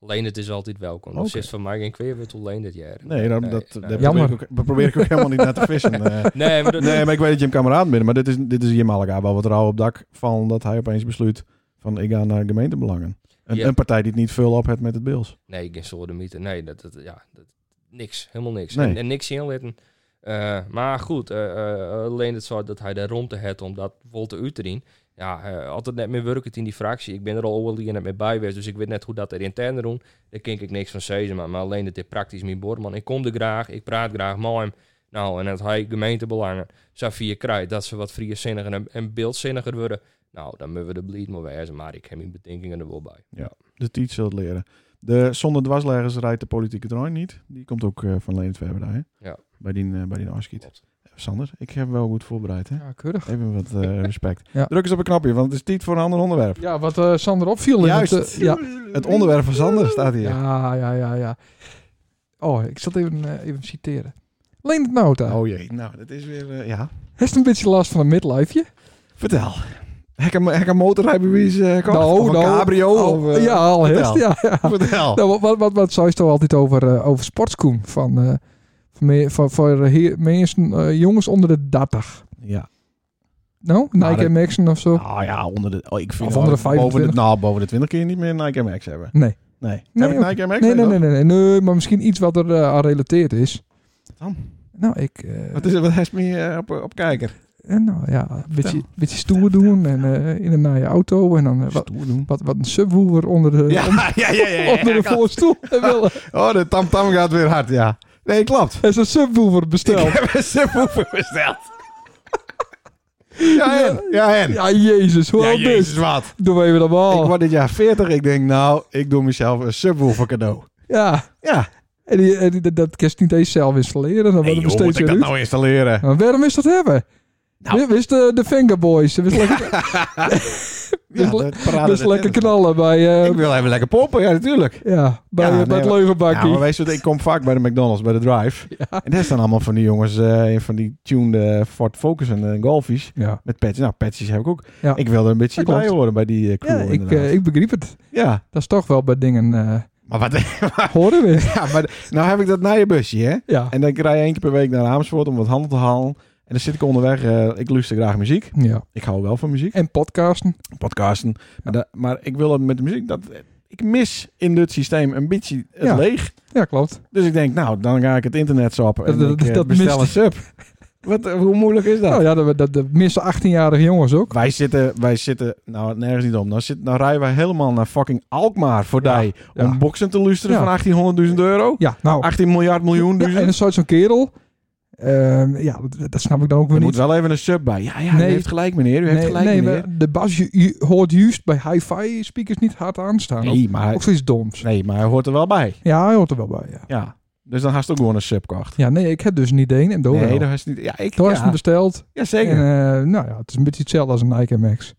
S3: Leen, het is altijd welkom. Dat
S2: Oké.
S3: is van mij geen kweerwittel Leen dit jaar.
S2: Nee, dat,
S3: Nee,
S2: dat, daar
S3: nee.
S2: probeer,
S1: Jammer.
S2: ik ook, daar probeer ik ook helemaal niet naar te vissen. eh.
S3: Nee, maar dat,
S2: nee, maar ik weet dat je hem kameraad bent, maar dit is, dit is Jim Allegaba wat rauw op dak van dat hij opeens besluit van ik ga naar gemeentebelangen. Een,
S3: Ja.
S2: een partij die het niet veel op heeft met het Bills.
S3: Nee, geen soorten Nee, dat, dat, ja, dat, niks. Helemaal niks.
S2: Nee.
S3: En, en niks inlitten. Eh maar goed, eh, eh, alleen het zo dat hij daar rond te het om dat vol te uiteren. Ja, eh, altijd net meer werkend in die fractie. Ik ben er al overal net mee bij geweest, dus ik weet net hoe dat er intern doen. Daar ken ik niks van zeggen, maar, maar alleen dat dit praktisch mijn bord, man. Ik kom er graag, ik praat graag met hem. Nou, en dat hij gemeentebelangen, Safia krijgt, dat ze wat vrierzinniger en, en beeldzinniger worden. Nou, dan moeten we de bleed maar wijzen, maar ik heb mijn bedenkingen er wel bij.
S2: De tiet zult leren. De zonder dwarsleggers rijdt de politieke trein niet. Die komt ook eh, van Leendert Verwe daar, hè?
S3: Ja.
S2: Bij die, eh, bij die afschiet.
S3: Klopt.
S2: Sander, ik heb wel goed voorbereid, hè?
S1: Ja, keurig.
S2: Even wat eh, respect.
S1: Ja.
S2: Druk eens op een knopje, want het is tijd voor een ander onderwerp.
S1: Ja, wat eh, Sander opviel in
S2: Juist.
S1: het... eh, ja.
S2: Het onderwerp van Sander staat hier.
S1: ja, ja, ja, ja. Oh, ik zat even, eh, even citeren. Leen het nota.
S2: Oh jee, nou, dat is weer... eh, ja.
S1: Heeft een beetje last van een midlifeje?
S2: Vertel. Heb ik een- heb ik een motorrijbewijs eh kocht? of een cabrio?
S1: Nou, al-
S2: of, eh,
S1: Oh, ja, al
S2: vertel.
S1: heeft. Ja, ja.
S2: Vertel.
S1: Nou, wat, wat, wat, wat zou je toch altijd over, eh, over sportskoen? Van, eh, van, meer, van voor heer- mensen, eh, jongens onder de 30.
S2: Ja.
S1: Nou,
S2: Nou,
S1: Nike
S2: dat-
S1: Maxen of zo?
S2: Nou ja, onder de... Oh, ik vind
S1: Of onder de
S2: boven de,
S1: 25.
S2: nou, boven de 20 keer niet meer Nike MX hebben.
S1: Nee.
S2: Nee.
S1: Nee,
S2: heb ik
S1: ook-
S2: Nike MX?
S1: Nee, nee,
S2: nog?
S1: nee, nee, nee, nee, maar misschien iets wat er eh, aan relateerd is.
S2: Dan?
S1: Nou, ik... eh,
S2: Wat is het? Wat heeft me eh, op, op kijker?
S1: eh, nou ja, een beetje, beetje stoer doen en eh, in een naaie auto en dan eh, wat,
S2: Stoer doen.
S1: wat, wat een subwoofer onder de, on-
S2: Ja, ja, ja, ja. ja,
S1: onder de
S2: klopt.
S1: voorstoel willen.
S2: Oh, de tamtam gaat weer hard, ja. Nee, klopt.
S1: En zo'n subwoofer besteld.
S2: Ik heb een subwoofer besteld. ja, en? Ja, en?
S1: Ja, jezus, hoe
S2: Ja,
S1: oud is
S2: jezus, wat. Oh.
S1: Doen we even normaal.
S2: Ik word dit jaar 40. Ik denk, nou, ik doe mezelf een subwoofer cadeau.
S1: Ja,
S2: Ja.
S1: en, die, en die- dat, dat kun je niet eens zelf installeren. Dan
S2: Hey,
S1: worden we
S2: joh, moet
S1: steeds
S2: ik
S1: weer
S2: dat
S1: uit.
S2: nou installeren?
S1: Maar waarom is dat hebben?
S2: Nou.
S1: Nou. Wist de, de Fingerboys. Wist lekker,
S2: Ja,
S1: le-
S2: dat parade
S1: wist
S2: dat
S1: lekker
S2: dit is.
S1: knallen bij, eh,
S2: Ik wil even lekker pompen, ja, natuurlijk.
S1: ja, bij,
S2: Ja,
S1: eh,
S2: nee,
S1: bij het
S2: maar- Ja,
S1: leugenbakkie.
S2: maar weet je wat, ik kom vaak bij de McDonald's, bij de Drive. En daar staan allemaal van die jongens, eh, van die tuned eh, Ford Focus en eh, Golfies.
S1: Ja.
S2: Met patches. Nou, patches heb ik ook.
S1: Ja.
S2: Ik wil er een beetje
S1: Dat klopt.
S2: bij horen bij die eh, crew,
S1: Ja, ik,
S2: inderdaad.
S1: eh, ik begreep het.
S2: ja.
S1: Dat is toch wel bij dingen eh
S2: Maar wat...
S1: horen we.
S2: ja, maar nou heb ik dat naaienbusje, hè?
S1: Ja.
S2: En dan rij je één keer per week naar Amersfoort om wat handel te halen. En dan zit ik onderweg. eh, ik luister graag muziek.
S1: ja.
S2: Ik hou wel van muziek.
S1: En podcasten.
S2: Podcasten. Maar, da- maar ik wil het met de muziek... Dat, ik ik mis in dit systeem een beetje het
S1: Ja.
S2: leeg.
S1: Ja, klopt.
S2: Dus ik denk, nou, dan ga ik het internet zappen en
S1: Dat-
S2: ik
S1: dat-
S2: eh,
S1: dat
S2: bestel
S1: mist-
S2: een sub. Wat, eh, hoe moeilijk is dat?
S1: Nou ja, dat, dat, dat missen 18-jarige jongens ook.
S2: Wij zitten, wij zitten, nou nergens niet om. Nou, zit, nou rijden wij helemaal naar fucking Alkmaar voor
S1: Ja,
S2: die
S1: ja.
S2: om boksen te luisteren
S1: Ja.
S2: van 1800.000 euro.
S1: Ja, nou.
S2: 18 miljard
S1: Ja, en
S2: miljoen dus. duizend.
S1: dan staat zo'n kerel. Ehm, ja, dat, dat snap ik dan ook weer
S2: er
S1: niet.
S2: moet wel even een sub bij. Ja, ja,
S1: Nee.
S2: u heeft gelijk meneer, u heeft
S1: nee,
S2: gelijk
S1: nee,
S2: meneer.
S1: maar de bas ju- ju- hoort juist bij hi-fi speakers niet hard aanstaan.
S2: Nee, maar, hij-
S1: Ook zoiets doms.
S2: nee, maar hij hoort er wel bij.
S1: Ja, hij hoort er wel bij, ja.
S2: Ja, dus dan haast ook gewoon een sub kocht.
S1: Ja, nee, ik heb dus niet één en door
S2: Nee,
S1: wel.
S2: dat is niet. Ja, ik.
S1: Door is hem
S2: Ja,
S1: besteld.
S2: ja,
S1: En,
S2: zeker.
S1: eh, nou ja, het is een beetje hetzelfde als een Nike Max.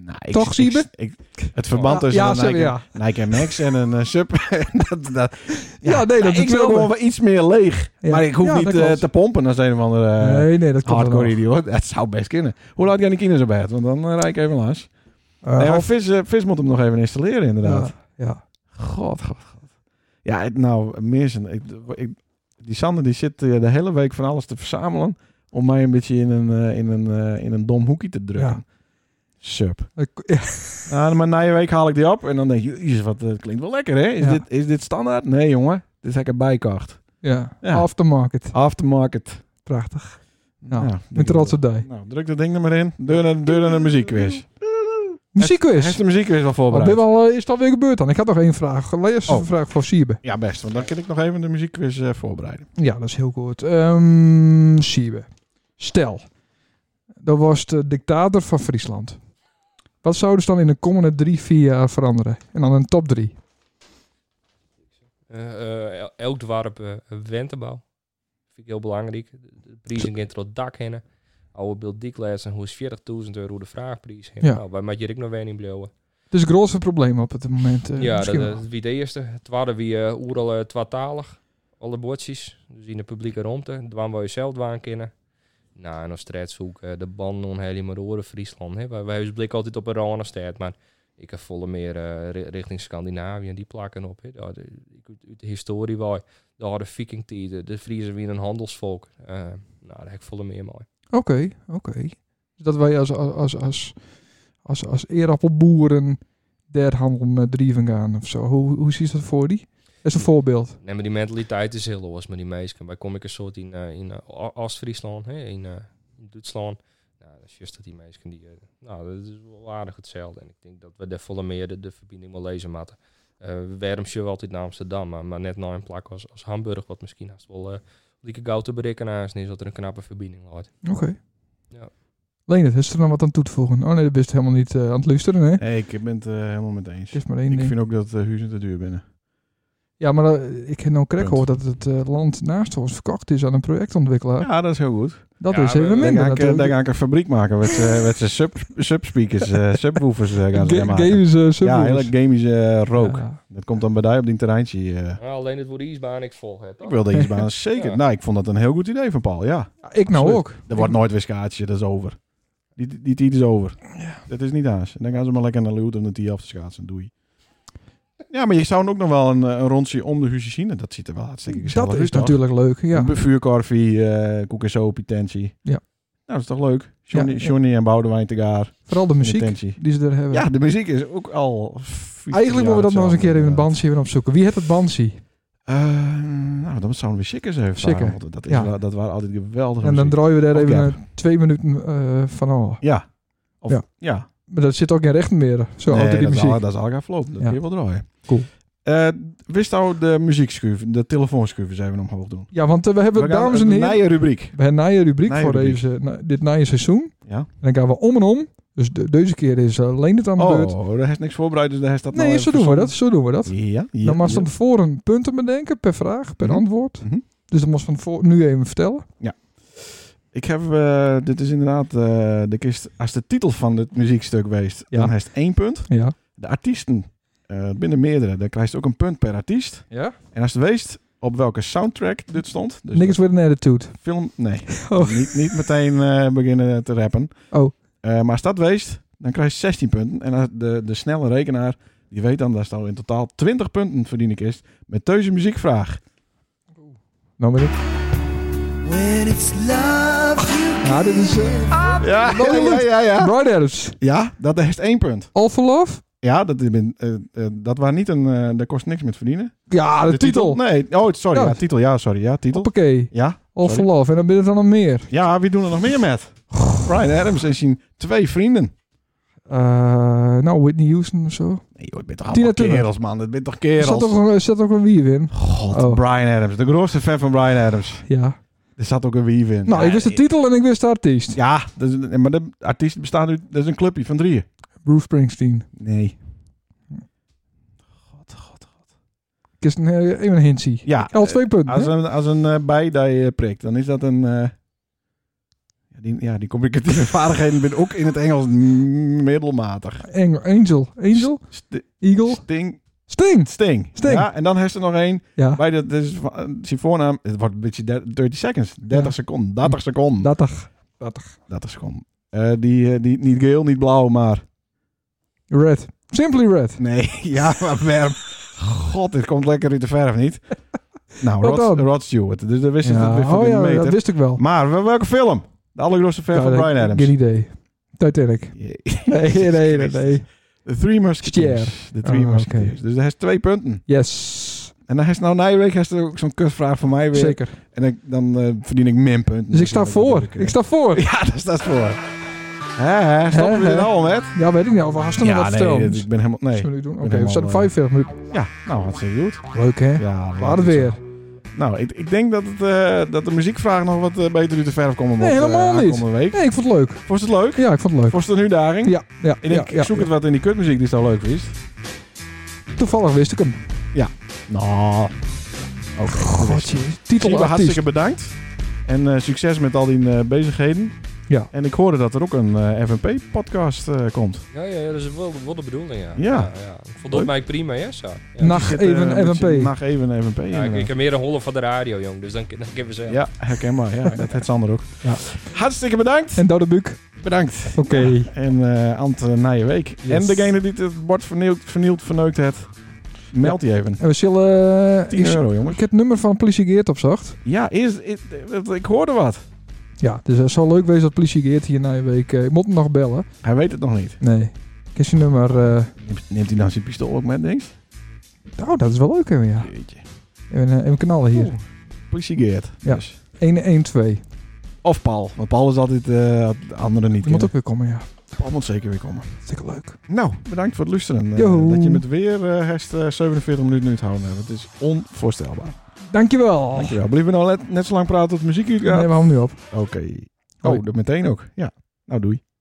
S2: Nou, ik-
S1: eh, toch,
S2: ik-
S1: Siebe?
S2: ik- Het verband
S1: ja,
S2: tussen
S1: ja,
S2: een
S1: sorry,
S2: Nike,
S1: ja.
S2: Nike Air Max en een eh, sub. dat, dat,
S1: Ja, nee, dat
S2: Nou,
S1: is
S2: ik wil
S1: hetzelfde.
S2: gewoon wel iets meer leeg.
S1: Ja.
S2: Maar ik hoef
S1: Ja,
S2: niet
S1: dat
S2: eh,
S1: klopt.
S2: te pompen als een of andere eh,
S1: nee, nee, dat klopt
S2: hardcore
S1: wel.
S2: idioot. Dat zou best kunnen. Hoe laat gaan die kinderen zo bed? Want dan eh, rijd ik even langs.
S1: Eh,
S2: nee, maar
S1: half-
S2: vis, eh, vis moet hem nog even installeren, inderdaad.
S1: Ja, ja.
S2: God, god, god. Ja, het, nou, Meersen. Ik, ik, die Sander die zit eh, de hele week van alles te verzamelen. Om mij een beetje in een, eh, in een, eh, in een dom hoekje te drukken.
S1: Ja.
S2: Sub.
S1: Ik- Eh, ja.
S2: Nou, maar na je week haal ik die op. En dan denk je, jezus, wat eh, klinkt wel lekker, hè? Is,
S1: Ja.
S2: dit, is dit standaard? Nee, jongen. Dit heb ik erbij kocht.
S1: Ja,
S2: Ja.
S1: aftermarket.
S2: Aftermarket.
S1: Prachtig. Nou,
S2: Ja,
S1: Een trotse dag.
S2: Nou, druk dat ding er maar in. Deur naar, deur naar de muziekquiz. Hij
S1: Muziekquiz.
S2: heeft de muziekquiz Oh, wel
S1: Wat
S2: voorbereid.
S1: ben al, is het alweer gebeurd dan? Ik had nog één vraag. Lees
S2: Oh.
S1: een vraag voor Siebe.
S2: Ja, best. Want dan kan ik nog even de muziekquiz eh, voorbereiden.
S1: Ja, dat is heel goed. Ehm Siebe. Stel, dat was de dictator van Friesland. Wat zou dus dan in de komende drie, vier jaar veranderen? En dan een top drie.
S3: Eh, eh, el- elk dorp eh, een wentenbouw. Vind ik heel belangrijk. De- De prijzen gaan tot het dak heen. Oude beeld dikles en hoe is 40.000 euro de vraagprijs. heen.
S1: Ja.
S3: Nou, wij maak je ik nog weer in blauwe.
S1: Het is het grootste probleem op het moment. eh,
S3: ja, dat,
S1: misschien wel.
S3: eh, wie de eerste. Het waren wie eh oeral twaalftalig. Alle bordjes. Dus in de publieke ruimte. Het waren we zelf aan kennen. Nou, en als strijd zoeken. De banden om helemaal oren Friesland. Hè. Wij, wij hebben blik altijd op een rare strijd. Maar ik heb volle meer eh, ri- richting Scandinavië. En die plakken op. Hè. Ja, de, ik, uit- uit de historie waar. De harde vikingtijden. De Friesen weer een handelsvolk. Eh, nou, daar heb ik volle meer mooi.
S1: Oké, oké. Dus dat wij als, als, als, als, als eerappelboeren der handel met drieven gaan of zo. Hoe, hoe zie je dat voor die? Dat is een voorbeeld.
S3: Nee, maar die mentaliteit is heel los met die meisjes. Wij kom ik een soort in, eh, in eh, O- Oost-Friesland, hè, in, eh, in Duitsland. Nou, dat is juist dat die meisjes die... eh, nou, dat is wel aardig hetzelfde. En ik denk dat we daar volle meer de, de verbinding wel lezen moeten. Eh Waarom zullen we altijd naar Amsterdam, maar, maar net naar een plak als, als Hamburg, wat misschien haast wel eh dikke gauw te bereiken naast is, dat er een knappe verbinding loopt.
S1: Oké.
S3: Ja.
S1: Leen, het is er dan wat aan toe te voegen? Oh nee, dat bist helemaal niet eh, aan het luisteren, hè?
S2: Nee, ik ben het eh, helemaal met eens.
S1: Het is maar één
S2: Ik
S1: ding.
S2: vind ook dat eh, huizen te duur binnen.
S1: Ja, maar eh, ik heb nou krek
S2: Punt.
S1: gehoord dat het eh, land naast ons verkocht is aan een projectontwikkelaar.
S2: Ja, dat is heel goed.
S1: Dat
S3: Ja,
S1: is even
S3: maar-
S2: Dan
S1: minder
S2: ga ik, eh, dan
S1: natuurlijk.
S2: ga ik een fabriek maken met, eh, met zijn sub, subspeakers, eh subwoofers eh, gaan ze
S1: Ga-
S2: maken.
S1: Games, eh,
S2: ja,
S1: subwoofers.
S2: hele gamische eh, rook.
S1: Ja.
S2: Dat komt dan bij die op die terreintje. eh.
S3: Nou, alleen het wordt de ijsbaan ik vol heb.
S2: Ik wil deze baan zeker.
S3: Ja.
S2: Nou, ik vond dat een heel goed idee van Paul, ja.
S1: Ja, ik nou
S2: Absoluut.
S1: ook.
S2: Er wordt nooit weer schaatsje, dat is over. Die, die tijd is over. Dat is niet haast. En dan gaan ze maar lekker naar Leeuwarden om de tien af te schaatsen. Doei. Ja, maar je zou ook nog wel een, eh, een rondje om de huizen zien. En Dat ziet er wel hartstikke gezellig
S1: Dat
S2: uit,
S1: is
S2: toch?
S1: natuurlijk leuk, ja.
S2: Een vuurkorfie, eh, koek en sopie, tentie.
S1: Ja.
S2: Nou, dat is toch leuk? Johnny,
S1: Ja, ja.
S2: Johnny en Boudewijn te gaar.
S1: Vooral de
S2: in de
S1: muziek
S2: tentie.
S1: die ze er hebben.
S2: Ja, de muziek is ook al... 15
S1: Eigenlijk
S2: jaar
S1: moeten we dat nog eens een keer
S2: hetzelfde,
S1: in een
S2: inderdaad.
S1: bandje even opzoeken. Wie heeft het bandje?
S2: Eh, nou, dan zouden we Sikkers even
S1: Sikker.
S2: vragen, want Dat, is
S1: Ja.
S2: wel- dat waren altijd geweldige
S1: En dan
S2: muziek.
S1: draaien we daar
S2: Of
S1: even
S2: Gap.
S1: eh, twee minuten eh, van af.
S2: Ja. Of,
S1: Ja.
S2: ja.
S1: Maar dat zit ook geen rechten meer. Zo,
S2: Nee,
S1: altijd die
S2: dat is
S1: muziek.
S2: al- dat is al gaan verlopen. Dat
S1: Ja.
S2: kun je wel draaien.
S1: Cool.
S2: Eh, wist nou de muziekschuif, de telefoonschuif eens even omhoog doen.
S1: Ja, want eh, we hebben,
S2: We gaan
S1: dames en
S2: een
S1: heren,
S2: nieuwe rubriek.
S1: we hebben een nieuwe rubriek
S2: Nieuwe
S1: voor
S2: rubriek.
S1: Deze, na- dit nieuwe seizoen.
S2: Ja.
S1: En dan gaan we om en om. Dus de- deze keer is eh, Leen het aan de beurt.
S2: Oh, daar is niks voorbereid, dus daar is dat nou
S1: nee,
S2: even
S1: zo doen, we dat,
S2: verzonnen.
S1: zo doen we dat.
S2: Ja, ja.
S1: dan mag je
S2: ja.
S1: van tevoren punten bedenken per vraag, per
S2: Mhm.
S1: antwoord.
S2: Mhm.
S1: Dus dat moest van tevoren nu even vertellen.
S2: Ik heb, eh, dit is inderdaad, eh, de kist, als de titel van het muziekstuk weest,
S1: Ja.
S2: dan heeft één punt.
S1: Ja.
S2: De artiesten, eh binnen meerdere, dan krijg je ook een punt per artiest.
S1: Ja?
S2: En als het weest op welke soundtrack dit stond, dus
S1: Niks with an attitude.
S2: film, nee.
S1: Oh.
S2: Niet, niet meteen eh, beginnen te rappen.
S1: Oh.
S2: Eh, maar als dat weest, dan krijg je 16 punten. En als de, de snelle rekenaar, die weet dan dat er in totaal 20 punten verdien ik is. Met deze muziekvraag.
S1: Nou ben ik.
S4: When it's love you
S1: Ja, dit is eh,
S2: Ja,
S1: ja, ja,
S2: ja.
S1: Bright Adams.
S2: Ja, dat heeft één punt.
S1: All for Love?
S2: Ja, dat, eh, eh, dat was niet een... eh daar kost niks met verdienen.
S1: Ja, Oh, de, titel.
S2: Nee, oh, sorry.
S1: Ja.
S2: Ja, titel. Ja, sorry. Ja, titel.
S1: Hoppakee.
S2: Ja,
S1: All for
S2: Sorry.
S1: Love. En dan ben je er nog meer.
S2: ja, wie doen er nog meer met? Brian Adams en zijn twee vrienden.
S1: Eh, nou, Whitney Houston of zo.
S2: Nee joh, het bent toch
S1: Tina
S2: allemaal
S1: Turner.
S2: kerels, man. Het bent toch
S1: Er
S2: kerels?
S1: zat, ook, een- er zat ook een wief in.
S2: God,
S1: Oh.
S2: Brian Adams. De grootste fan van Brian Adams.
S1: Ja.
S2: Er zat ook een wief in.
S1: Nou,
S2: Ja,
S1: ik wist de
S2: eh,
S1: titel en ik wist de artiest.
S2: Ja, dat is een- maar de artiest bestaat uit... Dat is een clubje van drieën.
S1: Bruce Springsteen.
S2: Nee.
S1: Ik is een, eh, even een hintje.
S2: Ja.
S1: Al twee punten.
S2: Als
S1: hè?
S2: een, als een eh, bij dat je prikt, dan is dat een... eh, ja, die, ja, die communicatieve vaardigheden ben ook in het Engels middelmatig.
S1: Engel, Angel. Angel?
S2: St-
S1: Eagle?
S2: Sting.
S1: Sting!
S2: Sting.
S1: Sting.
S2: Ja, en dan heeft er nog één.
S1: Ja,
S2: Bij de, dus, zijn voornaam, het wordt een beetje der- 30 seconds. 30
S1: Ja.
S2: seconden. 30 seconden.
S1: dat toch. Dat toch.
S2: 30 seconden. Eh, die, eh, die, niet geel, niet blauw, maar...
S1: Red. Simply Red.
S2: Nee, ja, maar waarom? God, dit komt lekker uit de verf, niet? Nou,
S1: Wat
S2: Rod,
S1: dan?
S2: Rod Stewart. Dus dat wist je
S1: Ja,
S2: dat weer van
S1: oh
S2: de
S1: ja,
S2: meter.
S1: dat wist ik wel.
S2: Maar wel- welke film? De allergrootste fan van
S1: Ja,
S2: Brian
S1: dat-
S2: Adams.
S1: Geen idee. Titanic. Nee, nee, nee, nee.
S2: De Three Musketeers. De Three
S1: Ah,
S2: Musketeers.
S1: oké.
S2: Dus hij heeft twee punten.
S1: Yes.
S2: En dan heeft nou Nijweek heeft er ook zo'n kutvraag van mij weer.
S1: Zeker.
S2: En ik- dan eh, verdien ik min punten.
S1: Dus ik sta
S2: Natuurlijk,
S1: voor.
S2: natuurlijk, eh.
S1: Ik sta voor.
S2: Ja, daar staat voor. Hè, hè, stoppen we
S1: Hè,
S2: er
S1: hè.
S2: nou al met?
S1: Ja, weet ik niet. Of haast nog wat vertellen?
S2: nee, dit- ik ben helemaal... Nee.
S1: Zullen we nu doen? Oké, we
S2: helemaal,
S1: staan op
S2: eh,
S1: 45 minuten.
S2: Ja, nou, hartstikke goed.
S1: Leuk, hè?
S2: Ja,
S1: We hadden
S2: dat is-
S1: weer.
S2: Nou, ik, ik denk dat, het, eh, dat de muziekvraag nog wat eh, beter uit de verf komen
S1: Nee, helemaal niet.
S2: eh, Week.
S1: Nee, ik vond het leuk.
S2: Vond je het leuk?
S1: Ja, ik vond het leuk.
S2: Vond je het een uitdaging?
S1: Ja, ja,
S2: Ik denk,
S1: ja, ja.
S2: zoek het wat in die kutmuziek die zo leuk is.
S1: Toevallig wist ik hem.
S2: Nou. Oké.
S1: Godje. Titel
S2: Siebe,
S1: artiest.
S2: hartstikke bedankt. En eh, succes met al die eh, bezigheden.
S1: Ja.
S2: En ik hoorde dat er ook een eh FNP-podcast eh, komt.
S3: Ja, ja, ja, dat is wel, wel de bedoeling, ja.
S2: Ja.
S3: ja, Voldoet
S2: Leuk.
S3: mij prima, ja, zo. Ja.
S1: Nacht
S2: Zit, eh,
S1: even
S2: met je-
S1: FNP.
S2: Nacht even FNP.
S3: Ja, ik,
S2: inderdaad.
S3: ik heb meer een holle van de radio, jong. Dus dan, dan kunnen we zeggen.
S2: eh. ja, herkenbaar. Ja, dat heeft Sander ook.
S1: Ja.
S2: Hartstikke bedankt.
S1: En Dode Buuk.
S2: Bedankt.
S1: Oké.
S2: En eh Ant, eh, na je week. En degene die het bord vernield, vernield verneukt heeft, meld die even.
S1: En we zullen... eh,
S2: 10
S1: is-
S2: euro, jongens.
S1: Ik heb het nummer van Politie Geert opzocht.
S2: Ja, eerst, ik, ik hoorde wat.
S1: Ja, dus het zal leuk wezen dat Politie Geert hier na een week... eh, ik moet hem nog bellen.
S2: Hij weet het nog niet.
S1: Nee. Ik heb zijn nummer... eh,
S2: Neemt, neemt hij dan zijn pistool ook met, denk ik?
S1: oh, dat is wel leuk, hè, ja.
S2: Jeetje.
S1: Even, eh, even knallen hier.
S2: Oeh, Politie Geert.
S1: Ja.
S2: Dus.
S1: 112.
S2: Of Paul. Want Paul is altijd eh de anderen niet.
S1: Die moet
S2: kennen.
S1: ook weer komen, ja.
S2: Paul moet zeker weer komen.
S1: Hartstikke leuk.
S2: Nou, bedankt voor het luisteren. Eh,
S1: Joho.
S2: dat je met weer eh herst, eh, 47 minuten nu te houden hebt. Het is onvoorstelbaar.
S1: Dankjewel.
S2: Dankjewel. Blijf nou net, net zo lang praten tot de muziek
S1: Nee,
S2: uitgaat.
S1: we houden nu op.
S2: Oké. Oh, dat meteen ook. Ja. Nou, doei.